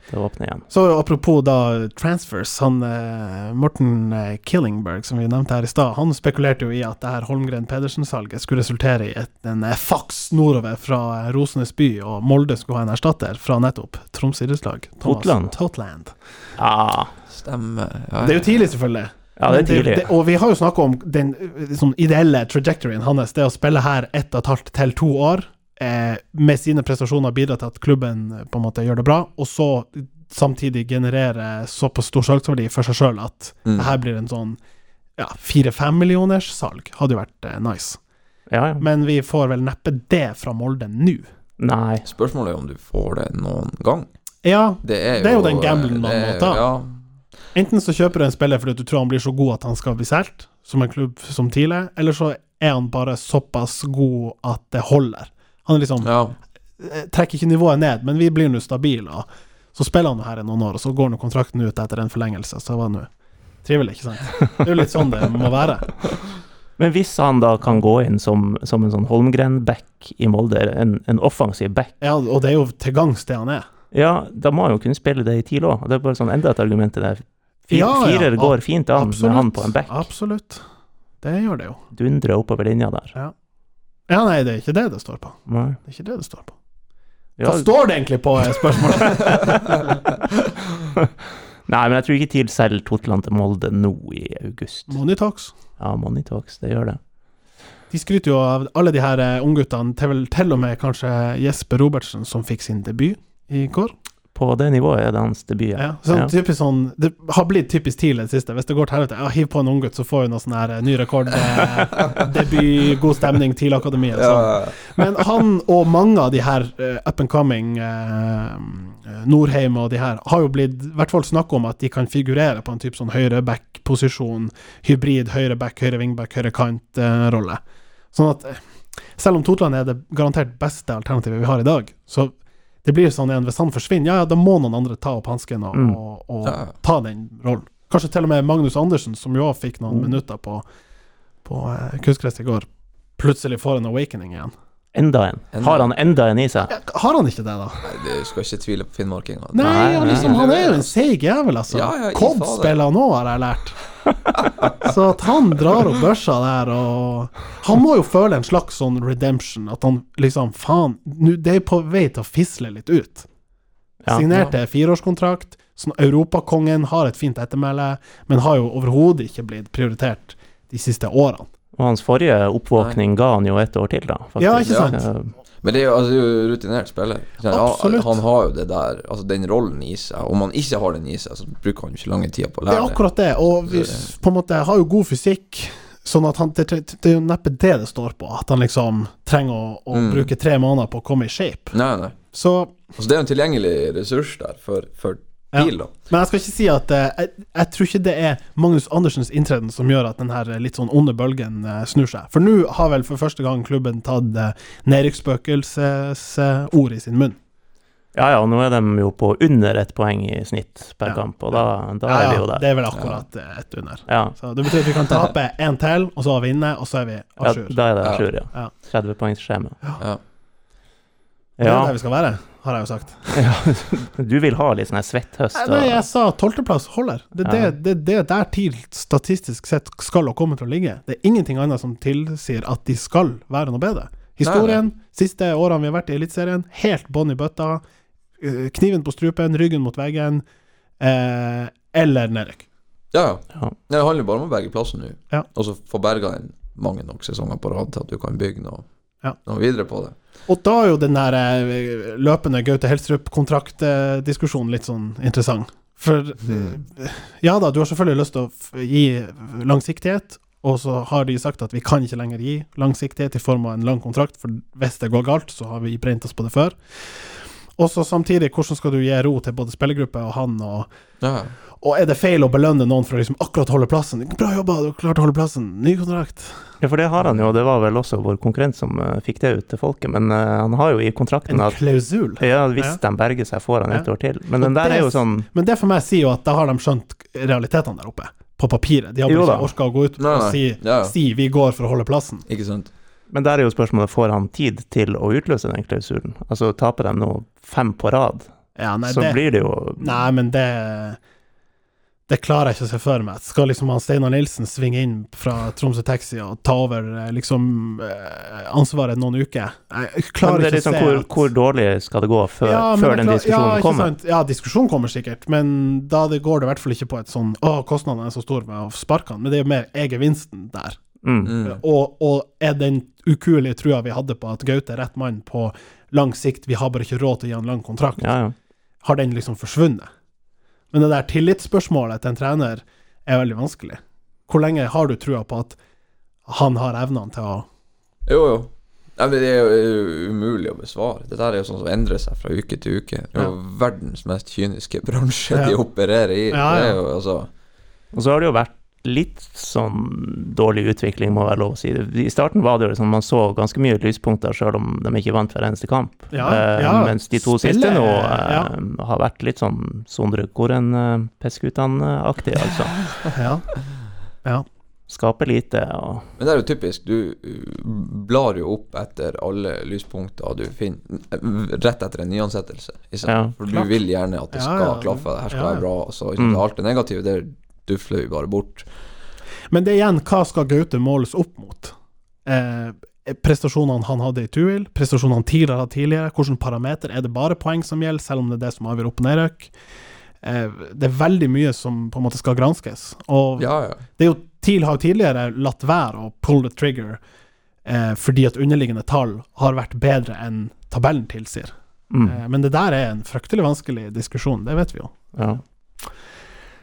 At det åpner igjen. Så apropos da transfers, han eh, Morten eh, Killingberg som vi nevnte her i stad, han spekulerte jo i at det her Holmgren-Pedersen-salget skulle resultere i et, en eh, faks nordover fra eh, Rosenes by, og Molde skulle ha en erstatter fra nettopp Troms idrettslag. Thomas Totland. Totland. Ja, Stemmer. Ja, ja. Det er jo tidlig, selvfølgelig. Ah, ja det er tidlig. Det, og vi har jo snakka om den eh, sånn ideelle trajectoryen hans. Det å spille her ett og et halvt til to år, eh, med sine prestasjoner bidra til at klubben eh, på en måte gjør det bra, og så samtidig generere såpass stor salgsverdi for seg sjøl at Mm. det her blir en sånn ja, fire-fem millioners salg. Hadde jo vært eh, nice. Ja, ja. Men vi får vel neppe det fra Molde nå. Nei. Spørsmålet er om du får det noen gang. Ja, Det er jo, eh, Det er jo den gamblen man det må er- ta. Ja, Enten så kjøper du en spiller fordi du tror han blir så god at han skal bli solgt, som en klubb som tidlig, eller så er han bare såpass god at det holder. Han er liksom ja. eh, Trekker ikke nivået ned, men vi blir nå stabile, og så spiller han jo her i noen år, og så går nå kontrakten ut etter en forlengelse, så det var nå trivelig, ikke sant? Det er jo litt sånn det må være. Men hvis han da kan gå inn som, som en sånn Holmgren-back i Molde, en, en offensiv back, Ja, og det er jo til gangs det han er. ja, da må han jo kunne spille det i TIL òg. Det er bare sånn enda et argument til det. her. Fire, Ja, ja, firer ab- går fint an med han på en back. Absolutt. Det gjør det jo. Dundre oppover linja der. Ja, nei, det er ikke det det står på. Nei. Det er ikke det det står på. Ja. Hva står det egentlig på, er spørsmålet? Nei, men jeg tror ikke TIL selger Totland til Molde nå i august. Monitox. Ja, Money Talks, det gjør det. De skryter jo av alle de her eh, ungguttene, til, vel- til og med kanskje Jesper Robertsen, som fikk sin debut i går. På det nivået er det hans debut. Ja. Sånn, Typisk sånn, det har blitt typisk TIL i det siste. Hvis det går til helvete, ja, hiv på en unggutt, så får vi noe sånn her eh, ny rekord. eh, Debut, god stemning, TIL-akademiet. ja. Sånn. Men han og mange av de her eh, up and coming, eh, Norheim og de her, har jo blitt i hvert fall snakk om at de kan figurere på en type sånn høyre back-posisjon, hybrid høyre back, høyre wingback, høyre kant-rolle. sånn at eh, selv om Totland er det garantert beste alternativet vi har i dag, så det blir sånn igjen, hvis han forsvinner, ja ja, da må noen andre ta opp hansken og, Mm. og, og Ja. ta den rollen. Kanskje til og med Magnus Andersen, som jo også fikk noen minutter på, på eh, kunstgress i går, plutselig får en awakening igjen. Enda en. Enda. Har han enda en i seg? Ja, Har han ikke det, da? Nei, det skal ikke tvile på finnmarkinga. Nei, Nei, han, nei. liksom, han er jo en seig jævel, altså. Ja, ja, i Cod fader. spiller han òg, har jeg lært. Så at han drar opp børsa der og Han må jo føle en slags sånn redemption, at han liksom Faen, nå- det er på vei til å fisle litt ut. Ja. Signerte fireårskontrakt, Sånn, Europakongen har et fint ettermæle, men har jo overhodet ikke blitt prioritert de siste årene. Og hans forrige oppvåkning ga han jo et år til, da. faktisk. Ja, ikke sant? Eh, Men det er jo altså, det er jo rutinert spiller. Så han- Absolutt. Han har jo det der, altså den rollen i seg. Om han ikke har den i seg, så bruker han jo ikke lange tida på å Det er lære det. akkurat det, og vi s- på en måte har jo god fysikk, sånn at han, det, det det er jo neppe det det står på, at han liksom trenger å, å Mm. bruke tre måneder på å komme i shape. Nei, nei. Så, Altså, det er jo en tilgjengelig ressurs der for, for Ja. bil, da. men jeg skal ikke si at eh, jeg, jeg tror ikke det er Magnus Andersens inntreden som gjør at den her litt sånn onde bølgen eh, snur seg. For nå har vel for første gang klubben tatt eh, nedrykksspøkelsesord i sin munn. Ja ja, nå er de jo på under ett poeng i snitt per Ja. kamp, og da, da Ja, er ja, vi jo der. det er vel akkurat eh, ett under. Ja, Så det betyr at vi kan tape én til, og så vinne, og så er vi ja à jour. da er det Ja. Sjur, ja. Ja. 30-poengsskjema. Ja. Det er Ja, der vi skal være, har jeg jo sagt. du vil ha litt sånn her svett høst? Nei, og- nei, jeg sa tolvteplass holder. Det er Ja. det, det, det er der TIL statistisk sett skal og kommer til å ligge. Det er ingenting annet som tilsier at de skal være noe bedre. Historien, siste årene vi har vært i Eliteserien, helt bånn i bøtta. eh, Kniven på strupen, ryggen mot veggen, eh, eller nedrykk. Ja, ja. Ja. Nei, Det handler jo bare om å berge plassen nå, Ja. og så få berga den mange nok sesonger på rad til at du kan bygge noe, Ja. noe videre på det. Og da er jo den der eh, løpende Gaute Helstrup-kontraktdiskusjonen litt sånn interessant. For eh, ja da, du har selvfølgelig lyst til å f- gi langsiktighet, og så har de sagt at vi kan ikke lenger gi langsiktighet i form av en lang kontrakt, for hvis det går galt, så har vi brent oss på det før. Og så samtidig, hvordan skal du gi ro til både spillergruppe og han, og, Ja, ja. og er det feil å belønne noen for å liksom akkurat holde plassen? Bra jobba, du klarte å holde plassen, ny kontrakt. Ja, for det har han jo, det var vel også vår konkurrent som eh, fikk det ut til folket, men eh, han har jo i kontrakten En at klausul. ja, hvis de berger seg, får han ett Ja. år til. Men Og den der det- er jo sånn Men det for meg sier jo at da har de skjønt realitetene der oppe, på papiret. De har Jo da. bare ikke orka å gå ut Nei, og nei. si, Ja, ja. si 'vi går for å holde plassen'. Ikke sant? Men der er jo spørsmålet, får han tid til å utløse den klausulen? Altså, taper de nå fem på rad, Ja, nei, så det, blir det jo nei, men det Det klarer jeg ikke å se for meg. Skal liksom han Steinar Nilsen svinge inn fra Tromsø Taxi og ta over eh, liksom eh, ansvaret noen uker? Jeg Men klarer det er ikke å liksom, se hvor, at- hvor dårlig skal det gå før, Ja, men før det den klar- diskusjonen ja, ikke kommer? sant. Ja, diskusjonen kommer sikkert, men da det går det i hvert fall ikke på et sånn 'Å, kostnadene er så store med å sparke han', men det er jo mer er gevinsten der. Mm. Mm. Og, og er den ukuelige trua vi hadde på at Gaute er rett mann på lang sikt, vi har bare ikke råd til å gi han lang kontrakt, Ja, ja. har den liksom forsvunnet? Men det der tillitsspørsmålet til en trener er veldig vanskelig. Hvor lenge har du trua på at han har evnene til å Jo, jo. Nei, men det er jo- er jo umulig å besvare. Det der er jo sånn som endrer seg fra uke til uke. Det er jo verdens mest kyniske bransje de Ja. opererer i. Ja, ja. Det er jo altså Og så har det jo vært litt sånn dårlig utvikling, må være lov å si. I starten var det jo sånn man så ganske mye lyspunkter, sjøl om de ikke vant hver eneste kamp. Ja, Eh, ja. mens de to Spillet, siste nå ja. eh, har vært litt sånn Sondre Koren-Peskutan-aktig, altså. Ja. Skaper lite og Men det er jo typisk. Du uh, blar jo opp etter alle lyspunkter du finner, uh, rett etter en nyansettelse. ikke sant? Ja. For Klart. du vil gjerne at det Ja, skal ja, ja. klaffe, det her skal Ja, ja. være bra. Og så, ikke Mm. sant, Alt det negative, det dufler vi bare bort. Men det er igjen, hva skal Gaute måles opp mot? Eh, prestasjonene han hadde i Tuil, prestasjonene tidligere hadde tidligere, hvilke parameter? Er det bare poeng som gjelder, selv om det er det som avgjør opp- og nedrøkk? Eh, det er veldig mye som på en måte skal granskes. Og Ja, ja. det er jo, TIL har jo tidligere latt være å pull the trigger eh, fordi at underliggende tall har vært bedre enn tabellen tilsier. mm, Eh, men det der er en fryktelig vanskelig diskusjon, det vet vi jo. ja.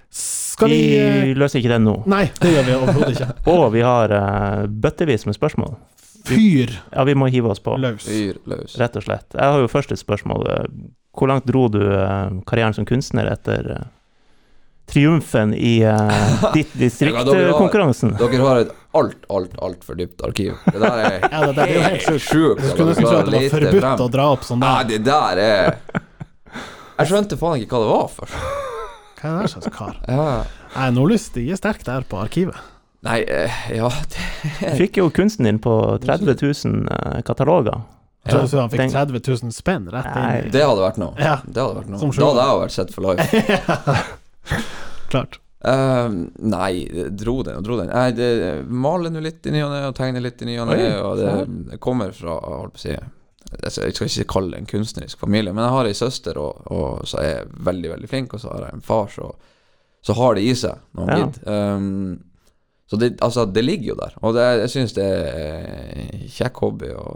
Skal vi eh, Vi løser ikke den nå. Nei, det gjør vi overhodet ikke. Og vi har eh, bøttevis med spørsmål. Fyr Ja, vi må hive oss på. løs. Fyr løs. Rett og slett. Jeg har jo først et spørsmål. eh, Hvor langt dro du eh, karrieren som kunstner etter eh, triumfen i eh, ditt Ja, da blir det- distriktkonkurransen? Dere har et alt, alt, altfor dypt arkiv. Det der er Ja, det, det, det er jo helt sjukt. sjukt. Jeg at skulle dere nesten tro klarer at det var lete forbudt frem. å dra opp sånn der. Nei, Ah, det der er Jeg skjønte faen ikke hva det var for. Hva er det der slags kar? Ja. Nei, Nordlys de er sterke der på arkivet. Nei, eh, ja det, Du fikk jo kunsten din på 30 000 eh, kataloger. Jeg tror også han den- fikk 30 000 spenn rett inn. det hadde vært noe. i- Ja, Det hadde vært noe. Som Da sjøl. hadde jeg vært sett for life. klart. Ehm, nei, det- dro den og dro den. Jeg det, maler nå litt i ny og ne og tegner litt i ny og ne. Oi, Og det, det kommer fra holdt på å si, altså, Jeg skal ikke kalle det en kunstnerisk familie, men jeg har ei søster og, og som er veldig veldig flink, og så har jeg en far som så, har det i seg når han Ja. gidder. Um, så det, altså, det ligger jo der, og det, jeg syns det er en kjekk hobby å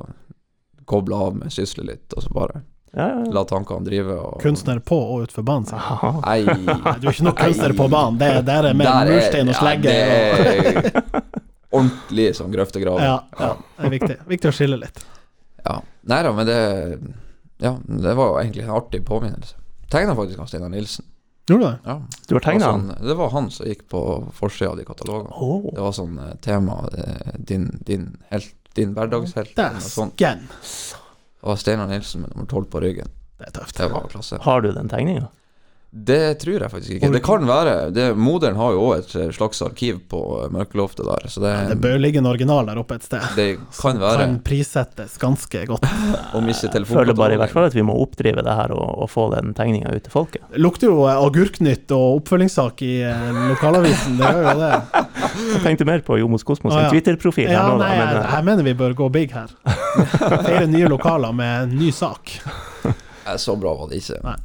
koble av med, sysle litt, og så bare Ja, ja, ja. la tankene drive. Og, Kunstner på og utenfor banen, sier jeg. Aha. Nei. Du er ikke noen kunstner på banen, det er, der er mer Der er- murstein og slegge. Ja, og- det er ordentlig sånn grøftegrav. Ja, ja, det er viktig. viktig å skille litt. Ja. Nei da, men det Ja, det var jo egentlig en artig påminnelse. Tegna faktisk av Steinar Nilsen. Gjorde du det? Ja. Du har tegna Det var den? Sånn, det var han som gikk på forsida av de katalogene. Åh. Det var sånn eh, tema eh, Din, din helt, din hverdagshelt. eller noe sånt. Dæsken! Det var Steinar Nilsen med nummer tolv på ryggen. Det er tøft. Det var klasse. Har du den tegninga? Det tror jeg faktisk ikke. Det kan være det, Moderen har jo òg et eh, slags arkiv på eh, mørkeloftet der, så det, Det bør ligge en original der oppe et sted. det kan være. Kan prissettes ganske godt. Å miste Føler bare i hvert telefonkatalogen. fall at vi må oppdrive det her og, og få den tegninga ut til folket. Det lukter jo eh, agurknytt og oppfølgingssak i eh, lokalavisen, det gjør jo det. Mm. Jeg tenkte mer på Jomos Kosmos sin Å, ja. Twitter-profil. her Ja, nå, da, nei, men, jeg, eh, jeg mener vi bør gå big her. Flere nye lokaler med en ny sak. Nei, Så bra var det ikke. Nei.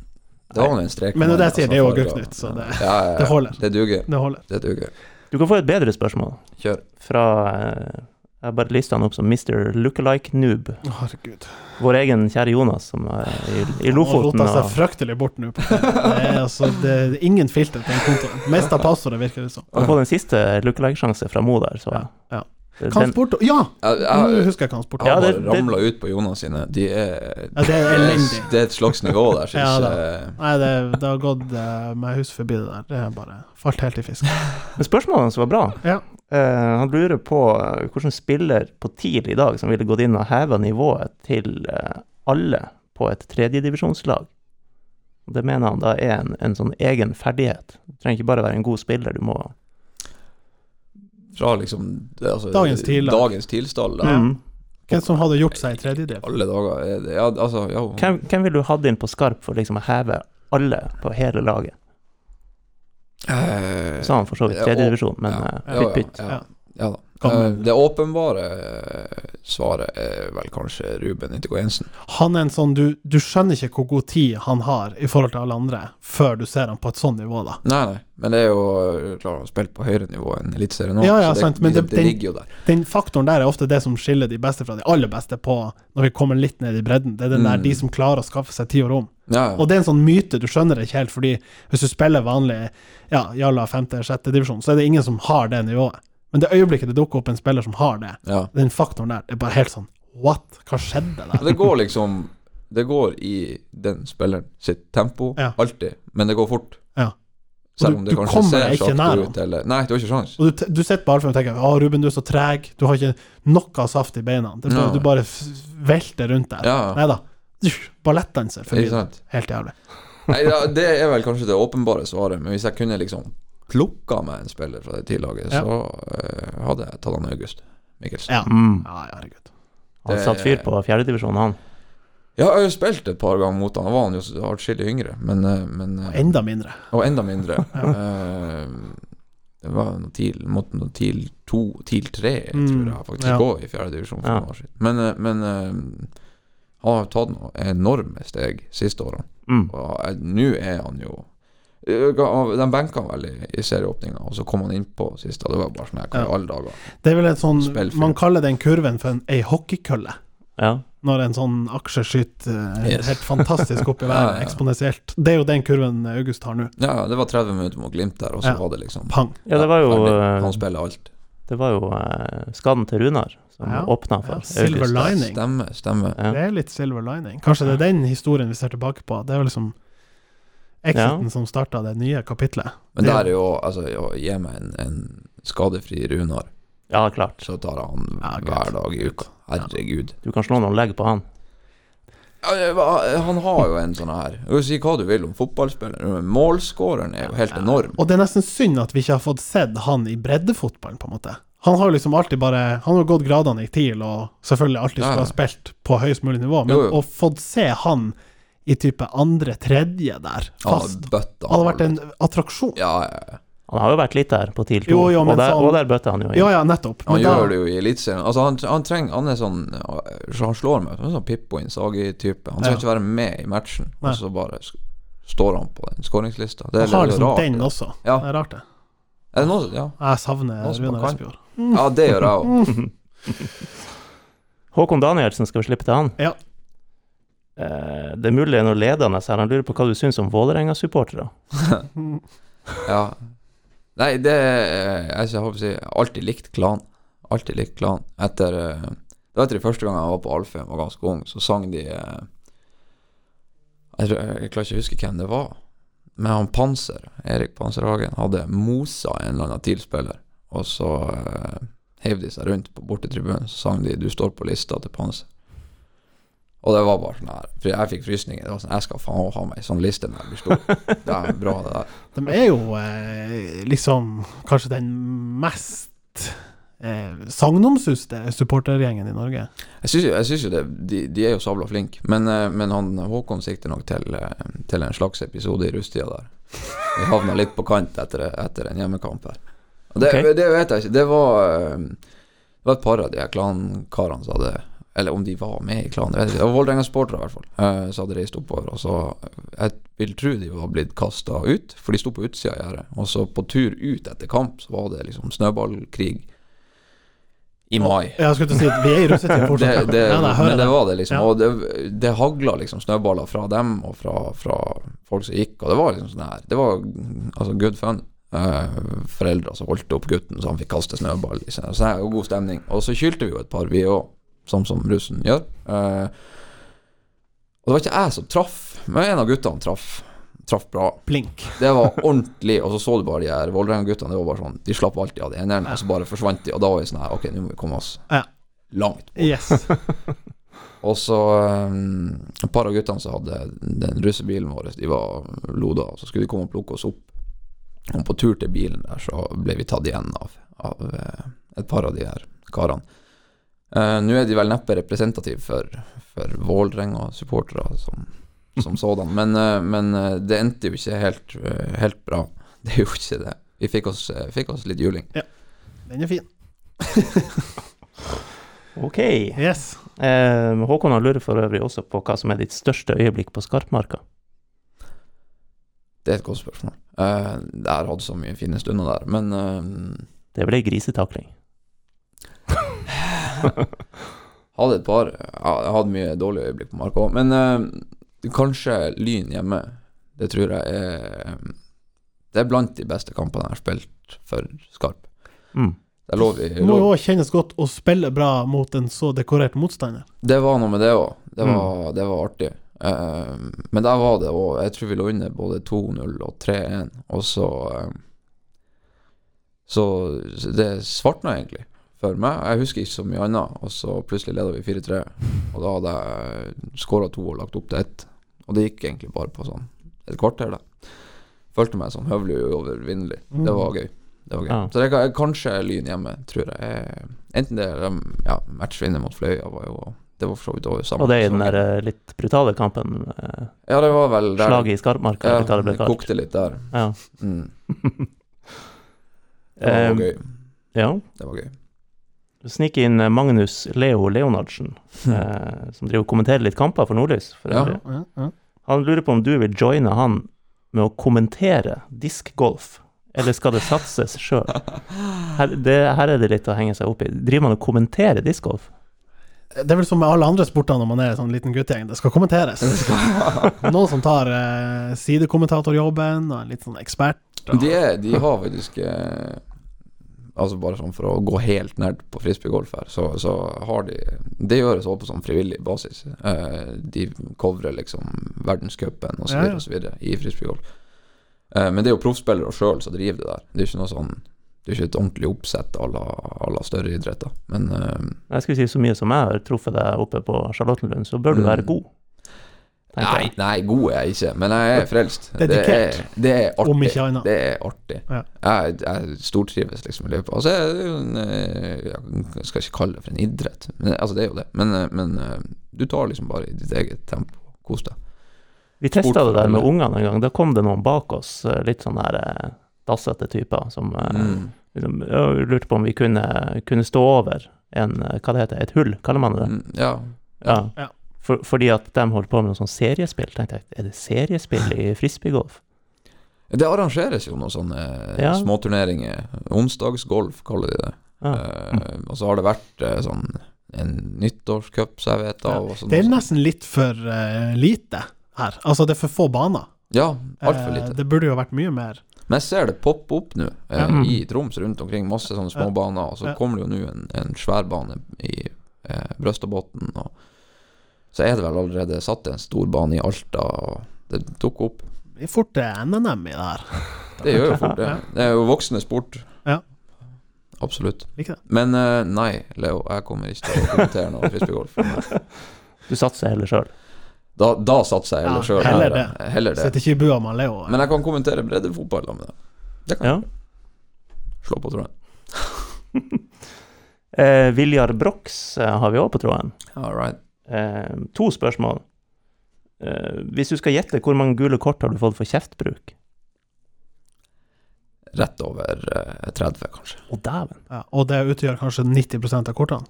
Det var nå en strek. Men det der, sier altså, det er jo for- Agurknytt, så det- ja, ja, ja. det holder. Det duger. Det holder. Det duger. Du kan få et bedre spørsmål Kjør. fra eh, Jeg bare lister han opp som Mr. Lookalike Noob. Herregud. Vår egen kjære Jonas som er i, i Han har Lofoten. rota seg Og, fryktelig bort nå. på- Det er altså det er ingen filter på den kontoen. Mest av passordet, virker det som. og på den siste lookalike-sjanse fra Mo der, så Ja, ja. Den- Kampsport Ja! Jeg, Nå jeg, husker jeg kampsport. jeg Ja, har det- bare det- ramla ut på Jonas sine. De er Ja, det er elendig. Det er et slags nivå der, syns Ja, da. jeg. Nei, det, det har gått eh, meg hus forbi det der. Det er bare falt helt i fisk. Men spørsmålet hans var bra. Ja. Eh, han lurer på eh, hvilken spiller på TIL i dag som ville gått inn og heva nivået til eh, alle på et tredjedivisjonslag. Og Det mener han da er en, en sånn egen ferdighet. Du trenger ikke bare være en god spiller, du må Fra liksom det- altså, Dagens TIL, da. Dagens tilstand. da. Mm. Hvem som hadde gjort seg i tredje div? Alle dager er det Ja, altså ja. hvem, hvem ville du hatt inn på skarp for liksom å heve alle på hele laget? Eh, Sa han for så vidt Ja, og- tredjedivisjon, men ja, eh, ja, ja, pytt pytt. Ja, ja da. Gammel. Eh, Det åpenbare eh, svaret er vel kanskje Ruben Ittiko Jensen. Han er en sånn du, du skjønner ikke hvor god tid han har i forhold til alle andre, før du ser han på et sånt nivå, da. Nei, nei, men det er jo klart å spille på høyere nivå enn Eliteserien nå. Ja, ja, så det, sant, men det, det- det ligger jo der. Den faktoren der er ofte det som skiller de beste fra de aller beste på når vi kommer litt ned i bredden. Det er den der Mm. de som klarer å skaffe seg tid og rom. Ja, ja. Og det er en sånn myte, du skjønner det ikke helt, fordi hvis du spiller vanlig ja, jalla femte- sjette divisjon, så er det ingen som har det nivået. Men det øyeblikket det dukker opp en spiller som har det, ja. den faktoren der, det er bare helt sånn What? Hva skjedde Og der? det går liksom Det går i den spilleren sitt tempo, Ja. alltid, men det går fort. Ja. Selv du- om det du kanskje kommer ser deg ikke nær sakte han. ut, eller Nei, du har ikke sjans. Og du, t- du sitter på Alfheim og tenker Å, Ruben, du er så treg. Du har ikke noe saft i beina. Det er bare, Ja. Du bare f- balletter rundt der. Ja, ja. Nei da. Ballettdanser. forbi deg. Ikke sant? Helt jævlig. Nei, ja, det er vel kanskje det åpenbare svaret, men hvis jeg kunne liksom plukka meg en spiller fra det tillaget, Ja. så eh, hadde jeg tatt han August Mikkelsen. Ja. Mm. ja, herregud. Han satte fyr på fjerdedivisjonen, han. Ja, jeg har jo spilt et par ganger mot han, da var han jo atskillig yngre, men, eh, men eh, Enda mindre. Og enda mindre. Eh, det var noe TIL mot noe TIL 2, TIL 3, Mm, tror jeg faktisk ja. ja. i fjerde divisjon for Ja. noen år siden. Men, eh, men eh, han har tatt noen enorme steg siste årene. Mm. Og eh, nå er han jo eh, de benka han vel i, i serieåpninga, og så kom han innpå sist. Og det var bare sånn her, hva i Ja. alle dager? Det er vel en sånn Spillfilm. Man kaller den kurven for en, ei hockeykølle. Ja. Når en sånn aksje skyter eh, Yes. helt fantastisk opp i Ja, ja, været, ja. eksponentielt. Det er jo den kurven August har nå. Ja, det var 30 minutter mot Glimt der, og så Ja. var det liksom Pang. ja, det var jo ferdig. eh, Han spiller alt. Det var jo eh, skaden til Runar som Ja. åpna for Ja, Silver August. Line. Lining. Stemmer, stemmer. Ja. Det er litt silver lining. Kanskje det er den historien vi ser tilbake på. Det er jo liksom exiten Ja. som starta det nye kapitlet. Men Det- der er jo Altså, å gi meg en, en skadefri Runar Ja, klart. så tar jeg han Ja, greit. hver dag i uka. Herregud. Du kan slå noen legg på han. Ja, hva- Han har jo en sånn her Du kan si hva du vil om fotballspilleren, men målskåreren er jo helt enorm. Og det er nesten synd at vi ikke har fått sett han i breddefotballen, på en måte. Han har jo liksom alltid bare Han har gått gradene i TIL, og selvfølgelig alltid Ja, ja. skulle ha spilt på høyest mulig nivå, men Jo, jo. å få se han i type andre-tredje der, Han har fast, bøtta hadde vært en attraksjon. Ja, ja, ja. Han har jo vært litt der på TIL 2, Jo, jo, og, men der, så han- og der bøtte han jo inn. Ja ja, nettopp. Han da- gjør det jo i Eliteserien. Altså, han, han trenger Han er sånn øh, Han slår meg som en sånn Pippo Insagi-type. Ja. Han skal ikke være med i matchen, Nei. og så bare sk står han på den skåringslista. Det er han har litt liksom rart. den også. Ja. Det er rart, det. Er det noe, ja. Jeg savner Noen som Runar kan. Espejord. ja, det gjør jeg Mm. òg. Håkon Danielsen, skal vi slippe til han? Ja. Eh, det er mulig det er noe ledende her. Han lurer på hva du syns om Vålerenga-supportere. Ja. Nei, det er- Jeg skal håpe å si jeg har Alltid likt klan. Alltid likt klan. Etter øh, Det var etter de første gangen jeg var på Alfheim, var ganske ung, så sang de øh, jeg, tror, eh, jeg klarer ikke å huske hvem det var. Men han Panser, Erik Panserhagen, hadde mosa en eller annen TIL-spiller. Og så eh, heiv de seg rundt på bortetribunen, så sang de 'Du står på lista' til Panser. Og det var bare sånn her for Jeg fikk frysninger. Det var sånn Jeg skal faen ha meg en sånn liste når jeg blir stor. Det er bra, det der. De er jo eh, liksom kanskje den mest eh, sagnomsuste supportergjengen i Norge. Jeg syns jo, jeg synes jo det, de, de er jo sabla flinke, men, eh, men han Håkon sikter nok til, eh, til en slags episode i rusttida der. Vi havna litt på kant etter, etter en hjemmekamp her. Og det, Ok. det vet jeg ikke. Det var, eh, det var et par av de her klankarene som hadde Eller om de var med i klanen, jeg vet ikke. Det var Vålerenga-sportere, i hvert fall. eh, Så hadde reist oppover. Og så Jeg vil tro de var blitt kasta ut, for de sto på utsida av gjerdet. Og så på tur ut etter kamp, så var det liksom snøballkrig i mai. Jeg skulle til å si at vi er i russetid Det, fortsatt. det, Ja, nei, jeg hører men det det. var det, liksom. Ja. Og det, det hagla liksom snøballer fra dem og fra, fra folk som gikk, og det var liksom sånn her Det var altså good fun. Eh, foreldre som holdt opp gutten så han fikk kaste snøball. Liksom. Så det er jo god stemning. Og så kylte vi jo et par, vi òg, sånn som russen gjør. Eh, og det var ikke jeg som traff, men en av guttene traff. Traff bra. Blink. Det var ordentlig, og så så du bare de her Vålerenga-guttene. Det var bare sånn De slapp alltid av de eneren, og så bare forsvant de. Og da var vi sånn her Ok, nå må vi komme oss Ja. langt Yes. og så um, Et par av guttene som hadde den russebilen vår, de var loda, og så skulle de komme og plukke oss opp. Og på tur til bilen der, så ble vi tatt igjen av, av eh, et par av de her karene. Eh, Nå er de vel neppe representative for, for Vålerenga-supportere som, som sådan, men, eh, men eh, det endte jo ikke helt, eh, helt bra. Det gjorde ikke det. Vi fikk oss, eh, fikk oss litt juling. Den er fin. Ok. Yes. Eh, Håkon han lurer for øvrig også på hva som er ditt største øyeblikk på Skarpmarka. Det er et godt spørsmål. Eh, Jeg har hatt så mye fine stunder der, men eh, Det ble grisetakling. Hadde et par ja, Jeg hadde mye dårlige øyeblikk på marka òg, men eh, kanskje Lyn hjemme. Det tror jeg er Det er blant de beste kampene jeg har spilt for Skarp. Mm. Der lå vi Det må jo lå, òg kjennes godt å spille bra mot en så dekorert motstander. Det var noe med det òg. Det, var- det var artig. Eh, men der var det òg Jeg tror vi lå under både 2-0 og 3-1, og så eh, Så så det svartna egentlig for meg. Jeg husker ikke så mye annet, og så plutselig leda vi 4-3. Og da hadde jeg skåra to og lagt opp til ett. Og det gikk egentlig bare på sånn et kvarter, da. Følte meg sånn høvelig uovervinnelig. Det var gøy. Det var gøy. Ja. Så det kan, kanskje Lyn hjemme, tror jeg. er- Enten det eller ja, matchvinner mot Fløya var jo Det var for så vidt over samme Og det er i den sesongen. der eh, litt brutale kampen. Eh, Ja, det var vel der. slaget i Skarpmarka, eller hva ja, det ble det kalt. kokte litt der. Ja. Mm. Det var Eh, gøy. ja. Det var gøy. Du sniker inn eh, Magnus Leo Leonardsen, eh, som driver og kommenterer litt kamper for Nordlys. For Hm. Ja. øvrig. Ja, ja. Han lurer på om du vil joine han med å kommentere diskgolf, eller skal det satses sjøl? Her, det- her er det litt å henge seg opp i. Driver man og kommenterer diskgolf? Det er vel som med alle andre sporter når man er en sånn liten guttegjeng, det skal kommenteres. Noen som tar eh, sidekommentatorjobben, og en litt sånn ekspert. og- De, er, de har faktisk eh, Altså bare sånn for å gå helt nerd på frisbeegolf her, så, så har de Det gjøres også på sånn frivillig basis. Eh, de covrer liksom verdenscupen og så Ja, ja. videre og så videre i frisbeegolf. Eh, men det er jo proffspillere sjøl som driver det der. Det er ikke noe sånn Det er ikke et ordentlig oppsett à la, à la større idretter. Men eh, Jeg skulle si så mye som jeg har truffet deg oppe på Charlottenlund, så bør du være Mm. god. tenker Nei, jeg. nei, god er jeg ikke, men jeg er frelst. Dedikert. Det er, det er artig. Om ikke annet. Det er artig. Ja. Jeg, jeg stortrives liksom i løpet. Altså, det er jo en eh, Jeg skal ikke kalle det for en idrett, men altså, det er jo det. Men, eh, men eh, du tar liksom bare i ditt eget tempo. Kos deg. Vi testa Sport det for der med alle. ungene en gang. Da kom det noen bak oss, eh, litt sånn her eh, dassete typer som eh, Mm. liksom, ja, vi lurte på om vi kunne, kunne stå over en, eh, hva det heter, et hull, kaller man det det? Mm, Ja. Ja. Ja. For, fordi at de holdt på med noe sånn seriespill, tenkte jeg, er det seriespill i frisbeegolf? Det arrangeres jo noen sånne eh, Ja. småturneringer. Onsdagsgolf kaller de det. Ja. Eh, og så har det vært eh, sånn en nyttårscup, så jeg vet av. Og sånn, Det er nesten litt for eh, lite her. Altså, det er for få baner. Ja, altfor Eh, lite. det burde jo vært mye mer. Men jeg ser det poppe opp nå eh, Ja. i Troms rundt omkring. Masse sånne småbaner. Og så Ja. kommer det jo nå en, en sværbane i eh, Brøstadbotn. Og så er det vel allerede satt en stor bane i Alta. Og det dukker opp. Det er Fort eh, NNM i det her. Det gjør jo fort det. Ja. Det er jo voksende sport. Ja. Absolutt. Liker det. Men eh, nei, Leo, jeg kommer ikke til å kommentere noe frisbeegolf. Du satser heller sjøl. Da, da satser jeg Ja, heller sjøl. heller det. Heller det. Sitter ikke i bua med Leo. Men jeg kan kommentere breddefotball da med det. Det kan Ja. jeg slå på tråden. Eh, Viljar Brox eh, har vi òg på tråden. All right. Eh, to spørsmål. Eh, hvis du skal gjette, hvor mange gule kort har du fått for kjeftbruk? Rett over eh, 30, kanskje. Å, dæven. Ja, og det utgjør kanskje 90 av kortene.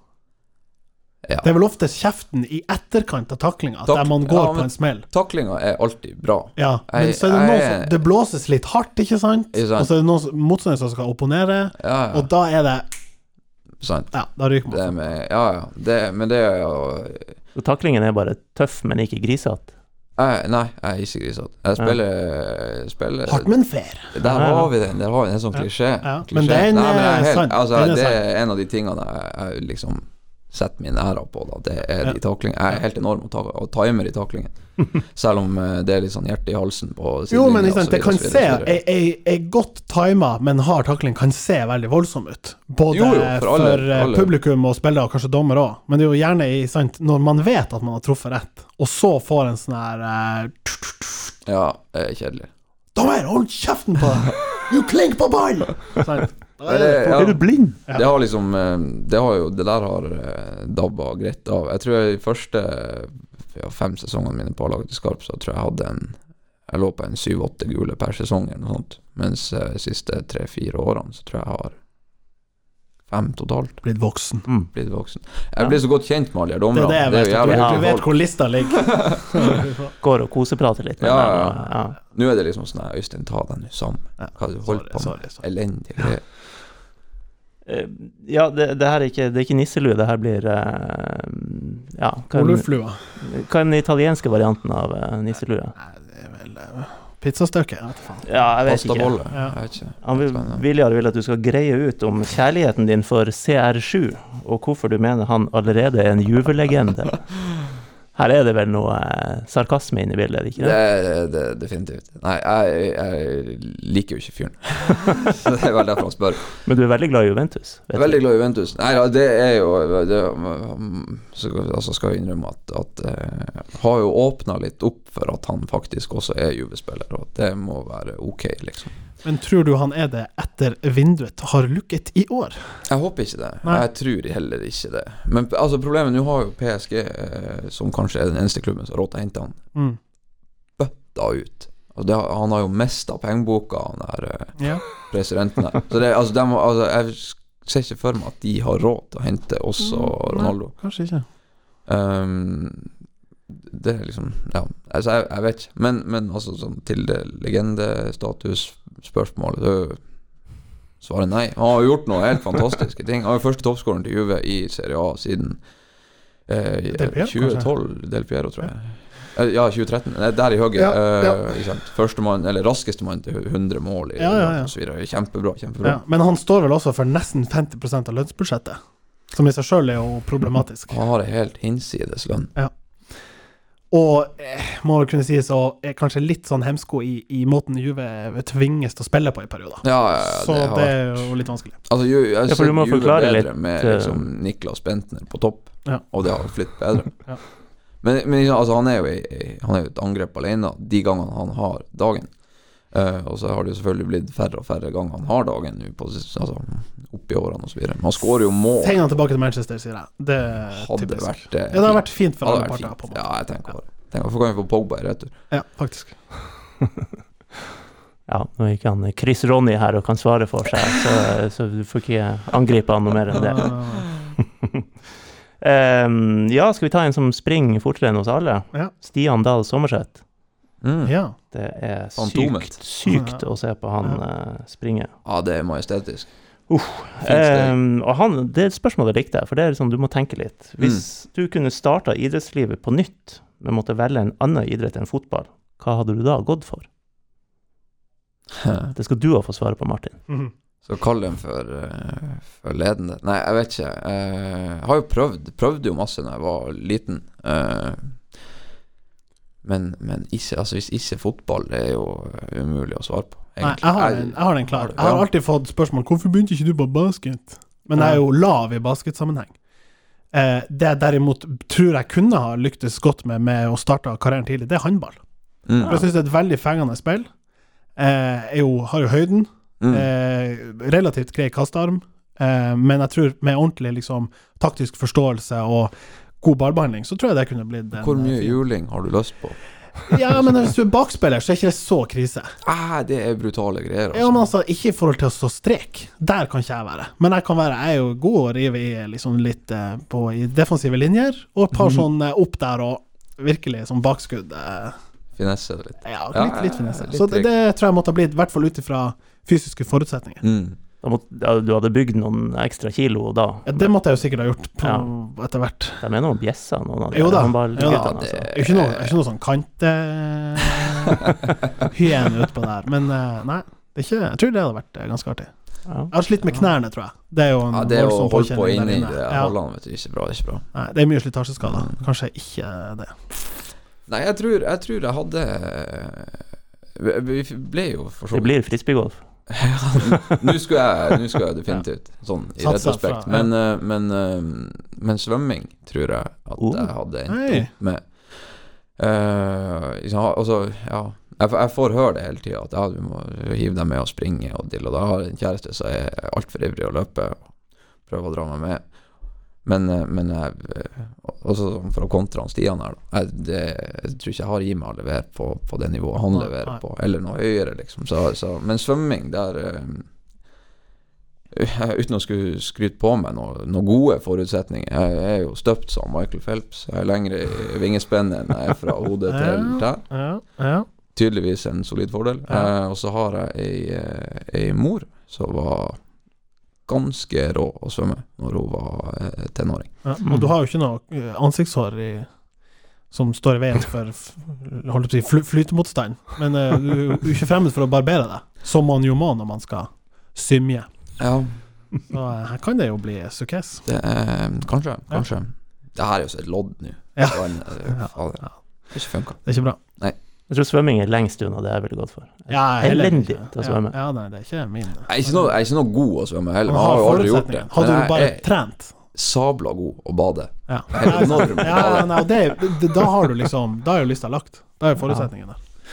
Ja. Det er vel oftest kjeften i etterkant av taklinga, Tak- der man går ja, men- på en smell. Taklinga er alltid bra. Ja, men Jeg- så er det noen jeg- som Det blåses litt hardt, ikke sant? Ikke sant. Og så er det noen som- motstandere som skal opponere, Ja, ja. og da er det Sant. Ja, da ryker Det man. med Ja, ja. Det, men det er jo Så taklingen er bare tøff, men ikke grisete. jeg, Nei, jeg er ikke grisete. Jeg spiller, spiller Hardt, men fair. Der har vi den. Der har vi den. En sånn klisjé. Ja, Klisjé. men den Nei, men jeg er helt- sant. Altså, Den er det er en av de tingene jeg, jeg liksom setter min ære på. Da. Det er de taklingene. Jeg er helt enorm og, ta, og timer i taklingen. Selv om eh, det er litt sånn hjerte i halsen på Jo, men sidelinja, ikke sant, og så det videre, kan så se videre, så videre. Ei, ei, ei godt tima, men hard takling kan se veldig voldsom ut. Både Jo, for, jo, for alle- eh, alle. publikum og spillere, og kanskje dommer òg. Men det er jo gjerne i, sant, når man vet at man har truffet rett, og så får en sånn her eh, Ja, det er kjedelig. Dommer, hold kjeften på deg! Du klink på ballen! Sant? Da er det- Ja. Er du blind? Ja. Det har liksom eh, Det, har jo, det der har eh, dabba greit av. Jeg tror jeg de første ja, fem sesongene mine på A-laget til Skarp, så tror jeg jeg hadde en Jeg lå på en syv-åtte gule per sesong eller noe sånt. Mens eh, de siste tre-fire årene så tror jeg jeg har fem totalt. Blitt voksen. Mm. Blitt voksen. Ja. Jeg blir så godt kjent med alle de her Det er dommerne. det jeg Det vet. er jo at jævla du- Du hyggelig vet hvor lista ligger. Går og koseprater litt. med Ja, dem, ja. ja. Nå er det liksom sånn her, Øystein, ta deg nå sammen. Hva har du holdt på med? Sorry, sorry. Elendig greier. Eh, ja, det, det her er ikke, det er ikke nisselue, det her blir eh, Ja, hva er, den, Oluflua. hva er den italienske varianten av eh, nisselue? Nei, det er vel eh, Pizzastykke? Jeg vet faen. Ja, jeg vet ikke. Pastabolle? Ja. Jeg vet ikke. Han vil, Viljar vil at du skal greie ut om kjærligheten din for CR7, og hvorfor du mener han allerede er en juvelegende. Her er det vel noe eh, sarkasme inne i bildet, er det ikke Det det? er det, er definitivt. Nei, jeg, jeg liker jo ikke fyren. Så det er vel derfor han spør. Men du er veldig glad i Juventus? Jeg Vet er veldig. veldig glad i Juventus. Nei da, det er jo det, mm, så, Altså skal jeg innrømme at, at eh, Har jo åpna litt opp for at han faktisk også er Juve-spiller, og at det må være ok, liksom. Men tror du han er det etter vinduet har lukket i år? Jeg håper ikke det. Nei. Jeg tror heller ikke det. Men altså, problemet nå har jo PSG, eh, som kanskje er den eneste klubben som har råd til å hente han, Mm. da ut. Altså, det, han har jo mista pengeboka, han der eh, Ja. presidentene. Så det, altså, dem- altså, jeg ser ikke for meg at de har råd til å hente oss og Mm, nei. Ronaldo. Kanskje ikke. Ehm, det er liksom Ja, altså, jeg, jeg vet ikke. Men, men altså, sånn til det legendestatus-spørsmålet det- Svaret nei. Han har jo gjort noe helt fantastiske ting. Han er første toppskåreren til Juve i Serie A siden eh, Del Piero, 2012. Del Piero, tror jeg. Eh, Ja, 2013. Nei, der i høyre. Ja, eh, ja. ikke sant. Førstemann, eller raskestemann til 100 mål i Ja, ja, ja. og så videre. Kjempebra. kjempebra Ja. Men han står vel også for nesten 50 av lønnsbudsjettet, som i seg sjøl er jo problematisk. Han har en helt hinsides lønn. Og eh, må vel kunne sies å er kanskje litt sånn hemsko i, i måten Juve tvinges til å spille på i perioder. Ja, ja, ja, Så Eh, det har det vært er jo litt vanskelig. altså, Ju- jeg har Ja, for du sett må Juve forklare bedre litt, med eh, liksom, Niklas Bentner på topp, Ja. og det har jo flytt bedre. Ja. Men, men liksom, altså, han, er jo, i- han er jo et angrep alene de gangene han har dagen. Eh, og så har det jo selvfølgelig blitt færre og færre ganger han har dagen nå, på sis- altså, opp i årene osv. Men han skårer jo mål. Tegn han tilbake til Manchester, sier jeg. Det er Hadde typisk. vært eh, ja, det har vært fint for hadde alle vært parter. på en fint. måte. Ja, jeg tenker på det. Tenk, Hvorfor kan vi få Pogba i retur? Ja, faktisk. Ja, nå er ikke han eh, Chris Ronny her og kan svare for seg, så, eh, så du får ikke angripe han noe mer enn det. Ah, Ehm, ja, skal vi ta en som springer fortere enn oss alle? Ja. Stian Dahl Sommerseth. Mm. Eh, ja. Det er Fantomet. sykt, sykt å se på han eh, springe. Ja, det er majestetisk. Uff. Fint steg. Ehm, og han, det spørsmålet likte jeg, for det er sånn du må tenke litt. Mm. Hvis du kunne starta idrettslivet på nytt, men måtte velge en annen idrett enn fotball, hva hadde du da gått for? Eh, Det skal du òg få svare på, Martin. Mhm. Så kall den for, eh, for ledende. Nei, jeg vet ikke. Eh, Jeg har jo prøvd. Prøvde jo masse da jeg var liten. Eh, Men, men ikke, altså hvis ikke fotball er jo eh, umulig å svare på. Nei, jeg har, den, jeg har den klar. Jeg har Ja. alltid fått spørsmål Hvorfor begynte ikke du på basket. Men jeg er jo lav i basketsammenheng. Eh, det jeg derimot tror jeg kunne ha lyktes godt med med å starte karrieren tidlig, det er håndball. Mm, For Jeg syns det er et veldig fengende spill. Eh, er jo, har jo høyden. mm, Eh, relativt grei kastearm. Eh, men jeg tror med ordentlig liksom, taktisk forståelse og god ballbehandling, så tror jeg det kunne blitt en- eh, Hvor mye juling har du lyst på? Ja, men hvis du er bakspiller, så er ikke det så krise. Ah, det er brutale greier. Ja, men Altså. altså, ikke i forhold til å stå strek. Der kan ikke jeg være. Men jeg kan være, jeg er jo god å rive i liksom litt eh, på i defensive linjer, og et par Mhm. sånne opp der og virkelig som bakskudd. eh, Finesse det litt. Ja, Ja, litt, litt finesse. litt Så det, det tror jeg måtte ha blitt, i hvert fall ut ifra fysiske forutsetninger. Mm. Da må, ja, du hadde bygd noen ekstra kilo da. Ja, det måtte jeg jo sikkert ha gjort på, etter hvert. De er noen bjesser, noen av de Jo da, jo da. håndballguttene. Altså. Det- Det er jo Ikke noe, det er ikke noe sånn kantehyene utpå der, men eh, nei. Det er ikke, jeg tror det hadde vært eh, ganske artig. Ja. Jeg har slitt med knærne, tror jeg. Det er jo en Ja, det å voldsom holde på påkjenning der inni inne. det Ja. hallene, vet du, ikke bra. Det er ikke bra. Nei, det er mye slitasjeskader. Kanskje ikke det. Nei, jeg tror jeg, tror jeg hadde eh, Vi vi ble jo for så Det blir frisbeegolf. Nå skulle jeg, nå skulle jeg definitivt Sånn i Satsa fra, retrospekt. ja. Men, eh, men, eh, men svømming tror jeg at Oh. jeg hadde endt Hei. opp med. Eh, liksom, ha- altså, ja jeg, får- jeg får høre det hele tida, at ja, du må hive deg med og springe og dill og da. Jeg har en kjæreste som er altfor ivrig å løpe, og prøver å dra meg med. Men, eh, men jeg, eh, også sånn for å kontre han Stian her, da. Jeg, det, jeg tror ikke jeg har i meg å levere på, på det nivået han Nei, leverer nei. på, eller noe høyere, liksom. Så, så, men svømming, der eh, jeg- Eh, Uten å skulle skryte på meg noen noe gode forutsetninger. Jeg er jo støpt som Michael Phelps. Jeg er lengre i vingespennet enn jeg er fra hode til tær. Ja, ja. Tydeligvis en solid fordel. Ja. Eh, og så har jeg ei, eh, ei mor som var ganske rå å svømme når hun var eh, tenåring. Ja, og du har jo ikke noe eh, ansiktshår i, som står i veien for f- holdt jeg på å si, fly, flytemotstand, men eh, du er jo ikke fremmed for å barbere deg, som man jo må når man skal symje. Ja, Så eh, her kan det jo bli sukkes. det er Kanskje. Kanskje. Det her er jo så et lodd nå. Ja. Det var en, eh, faen, det Ja. har ikke funka. Det er ikke bra. Jeg tror svømming er lengst unna det jeg ville gått for. Ja, heller Elendig ikke. til å svømme. Ja, ja, nei, det er ikke min. Jeg er ikke noe, jeg er ikke noe god å svømme heller. Man men Jeg har har jo aldri gjort det. forutsetninger. Hadde Men du jeg bare er- trent sabla god å bade. Ja. Jeg er enorm. Ja, nei, og det, det, da har du liksom Da er jo lista lagt. Da er jo forutsetningene der.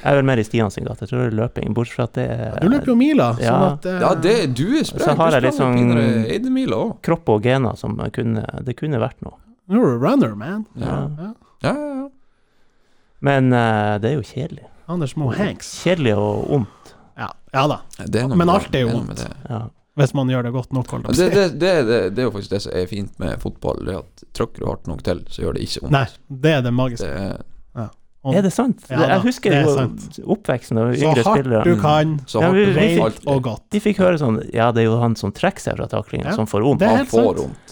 Jeg er vel mer i Stian sin gate. Jeg tror det er løping, bortsett fra at det Du er løper jo miler, sånn Ja. at eh, Ja, det, du er sprek. Så har du jeg litt sprang sånn- pinere Eidemila òg. kropp og gener som kunne Det kunne vært noe. You're a runner, man. Ja. Ja. Ja, ja, ja. Men eh, det er jo kjedelig. Anders Moe Hanks. Kjedelig og vondt. Ja, ja da. Det noe Men med- alt er jo det noe med Det. Ja. Hvis man gjør det godt nok, holdt Men jeg Det, på å si. det, det, det, det er jo faktisk det som er fint med fotball, det er at trykker du hardt nok til, så gjør det ikke vondt. Nei, det er det Det magiske. er, Og Er det sant? Ja da, jeg husker det er jo sant. oppveksten av Så yngre hardt spillere. du kan, så Ja, hardt vi- du vi- får reint alt og godt. De fikk høre sånn Ja, det er jo han som trekker seg fra taklinga, Ja, som får vondt. Det er Han helt får sant. vondt.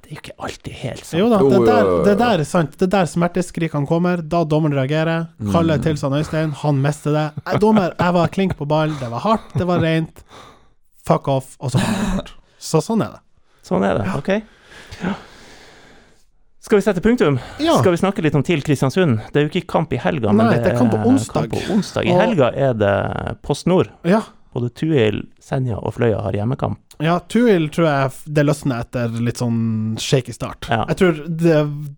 Det er jo ikke alltid helt sant. Jo da, Jo, det jo, der, jo, jo. det der er sant. Det der smerteskrikene kommer, da dommeren reagerer. Kaller Mm. til seg Øystein, han mister det. Jeg, dommer, jeg var klink på ballen, det var hardt, det var rent. Fuck off, og så var det bort. Så sånn er det. Sånn er det, ok? Ja. Skal vi sette punktum? Ja. Skal vi snakke litt om TIL Kristiansund? Det er jo ikke kamp i helga, men Nei, det er kamp på onsdag. kamp på onsdag. I Og- helga er det Post Nord. Ja, Både Tuil, Senja og Fløya har hjemmekamp. ja Tuil tror jeg f- det løsner etter litt sånn shaky start. Ja. Jeg tror det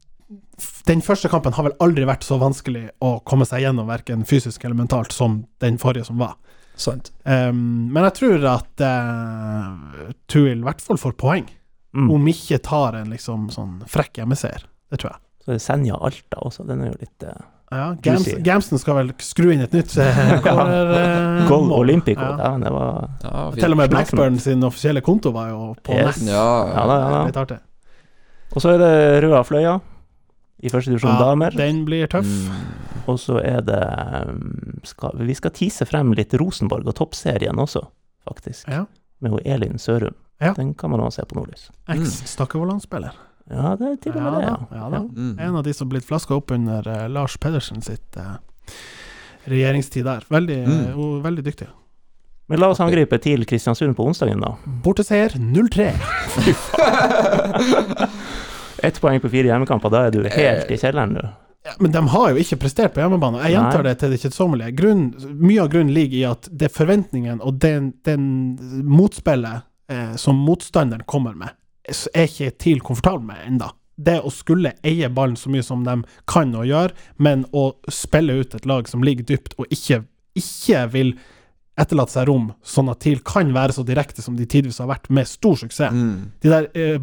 den første kampen har vel aldri vært så vanskelig å komme seg gjennom, verken fysisk eller mentalt, som den forrige som var. Sant. Ehm, men jeg tror at eh, Tuil i hvert fall får poeng, Mm. om ikke tar en liksom sånn frekk hjemmeseier. Det tror jeg. Så er det Senja Alta også, den er jo litt eh, Ja, Gams, Juicy. Gamsen skal vel skru inn et nytt eh, corner, eh, Gold mål. Olympico, Ja. dæven, det var Ja, fint. Til og med Blackburn sin offisielle konto var jo på Yes. nest. Ja Ja, da, ja da. Litt artig. Og så er det Røa Fløya i første divisjon Ja, damer. den blir tøff. Mm. Og så er det um, skal, Vi skal tease frem litt Rosenborg og toppserien også, faktisk. Ja. Med hun Elin Sørum. Ja. Den kan man også se på Nordlys. Eks-Stakkevollan-spiller. Ja, det er til og med Ja det, da, ja. ja da. Mm. En av de som blitt flaska opp under eh, Lars Pedersen sitt eh, regjeringstid der. Veldig, Mm. hun er veldig dyktig. Men la oss angripe til Kristiansund på onsdagen, da. Borteseier 0-3. Ett poeng på fire hjemmekamper, da er du helt i kjelleren, du. Ja, men de har jo ikke prestert på hjemmebane. Jeg Nei. gjentar det til det kjedsommelige. Grunnen- Mye av grunnen ligger i at det er forventningen og den, den motspillet eh, som motstanderen kommer med, s- er ikke TIL komfortabel med enda. Det å skulle eie ballen så mye som de kan å gjøre, men å spille ut et lag som ligger dypt og ikke, ikke vil etterlate seg rom, sånn at TIL kan være så direkte som de tidvis har vært, med stor suksess. Mm. De der eh,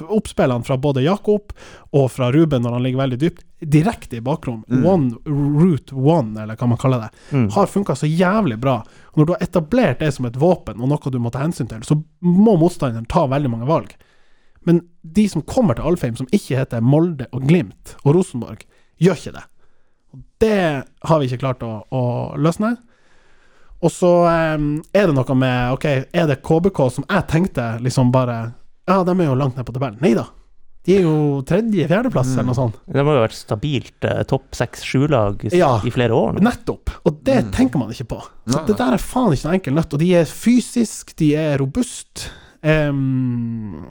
bakromsoppspillene fra både Jakob og fra Ruben når han ligger veldig dypt, direkte i bakrom, Mm. one route one, eller hva man kaller det, Mm. har funka så jævlig bra. Og når du har etablert det som et våpen og noe du må ta hensyn til, så må motstanderen ta veldig mange valg. Men de som kommer til Alfheim, som ikke heter Molde og Glimt og Rosenborg, gjør ikke det. Og det har vi ikke klart å, å løsne. Og så eh, er det noe med Ok, er det KBK som jeg tenkte liksom bare Ja, de er jo langt ned på tabellen. Nei da. De er jo tredje-fjerdeplass, eller noe sånt. Det må jo ha vært stabilt eh, topp seks sju-lag i, Ja. i flere år nå. Nettopp. Og det tenker man ikke på. Så Mm. Nei, det der er faen ikke noe enkel nøtt. Og de er fysisk, de er robust. Em,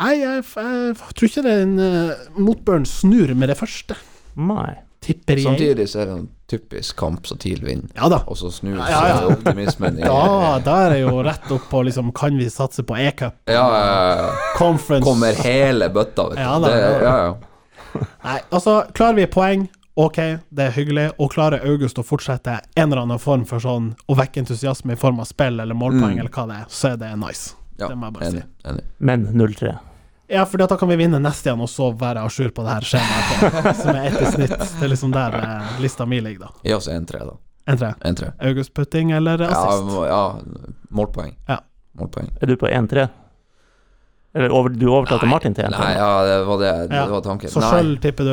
Nei, jeg, jeg, tror ikke den uh, motbøren snur med det første, Nei. tipper jeg. Samtidig så er det en typisk kamp så TIL vinner, Ja da. og så snur Ja, ja, ja. så optimismen i Da, da er det jo rett opp på liksom Kan vi satse på e-cup? Ja, ja, ja. Conference Kommer hele bøtta, vet du. Ja, da, det, ja, da. ja, ja. Nei, altså, klarer vi poeng, ok, det er hyggelig. Og klarer August å fortsette en eller annen form for sånn å vekke entusiasme i form av spill eller målpoeng, Mm. eller hva det er, så er det nice. ja. Det må jeg bare Enig. enig. Men 0-3. Ja, for da kan vi vinne neste igjen, og så være à jour på det her skjemaet, etterpå, som er ett i snitt. Det er liksom der eh, lista mi ligger, da. Gi oss 1-3, da. En tre. 1-3. August-putting eller Ja, assist? må- ja, målpoeng. Ja. Målpoeng. Er du på 1-3? Eller over, du overtalte Martin til 1-3? Nei, ja, det var det. Det Ja. var tanken. så Nei. sjøl tipper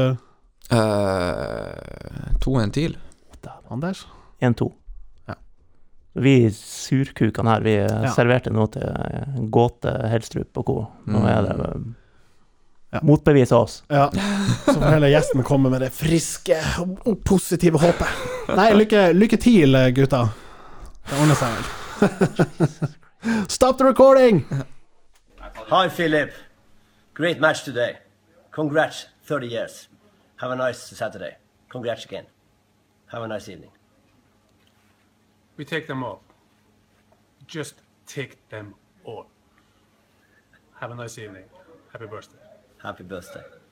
du Eh, 2-1 til. Anders? 1-2. Ja. Vi surkukene her, vi eh, Ja. serverte noe til eh, Gåte, Helstrup og co. Nå Mm. er det eh, Ja. Motbevis av oss. Ja. Så får heller gjesten komme med det friske og positive håpet. Nei, lykke, lykke til, gutta. Det ordner seg vel. Stop the recording! Hi, Philip. Great match today. Congrats, 30 years. Have a nice Saturday. Congrats again. Have a nice evening. We take them all. Just take them all. Have a nice evening. Happy birthday. Happy birthday.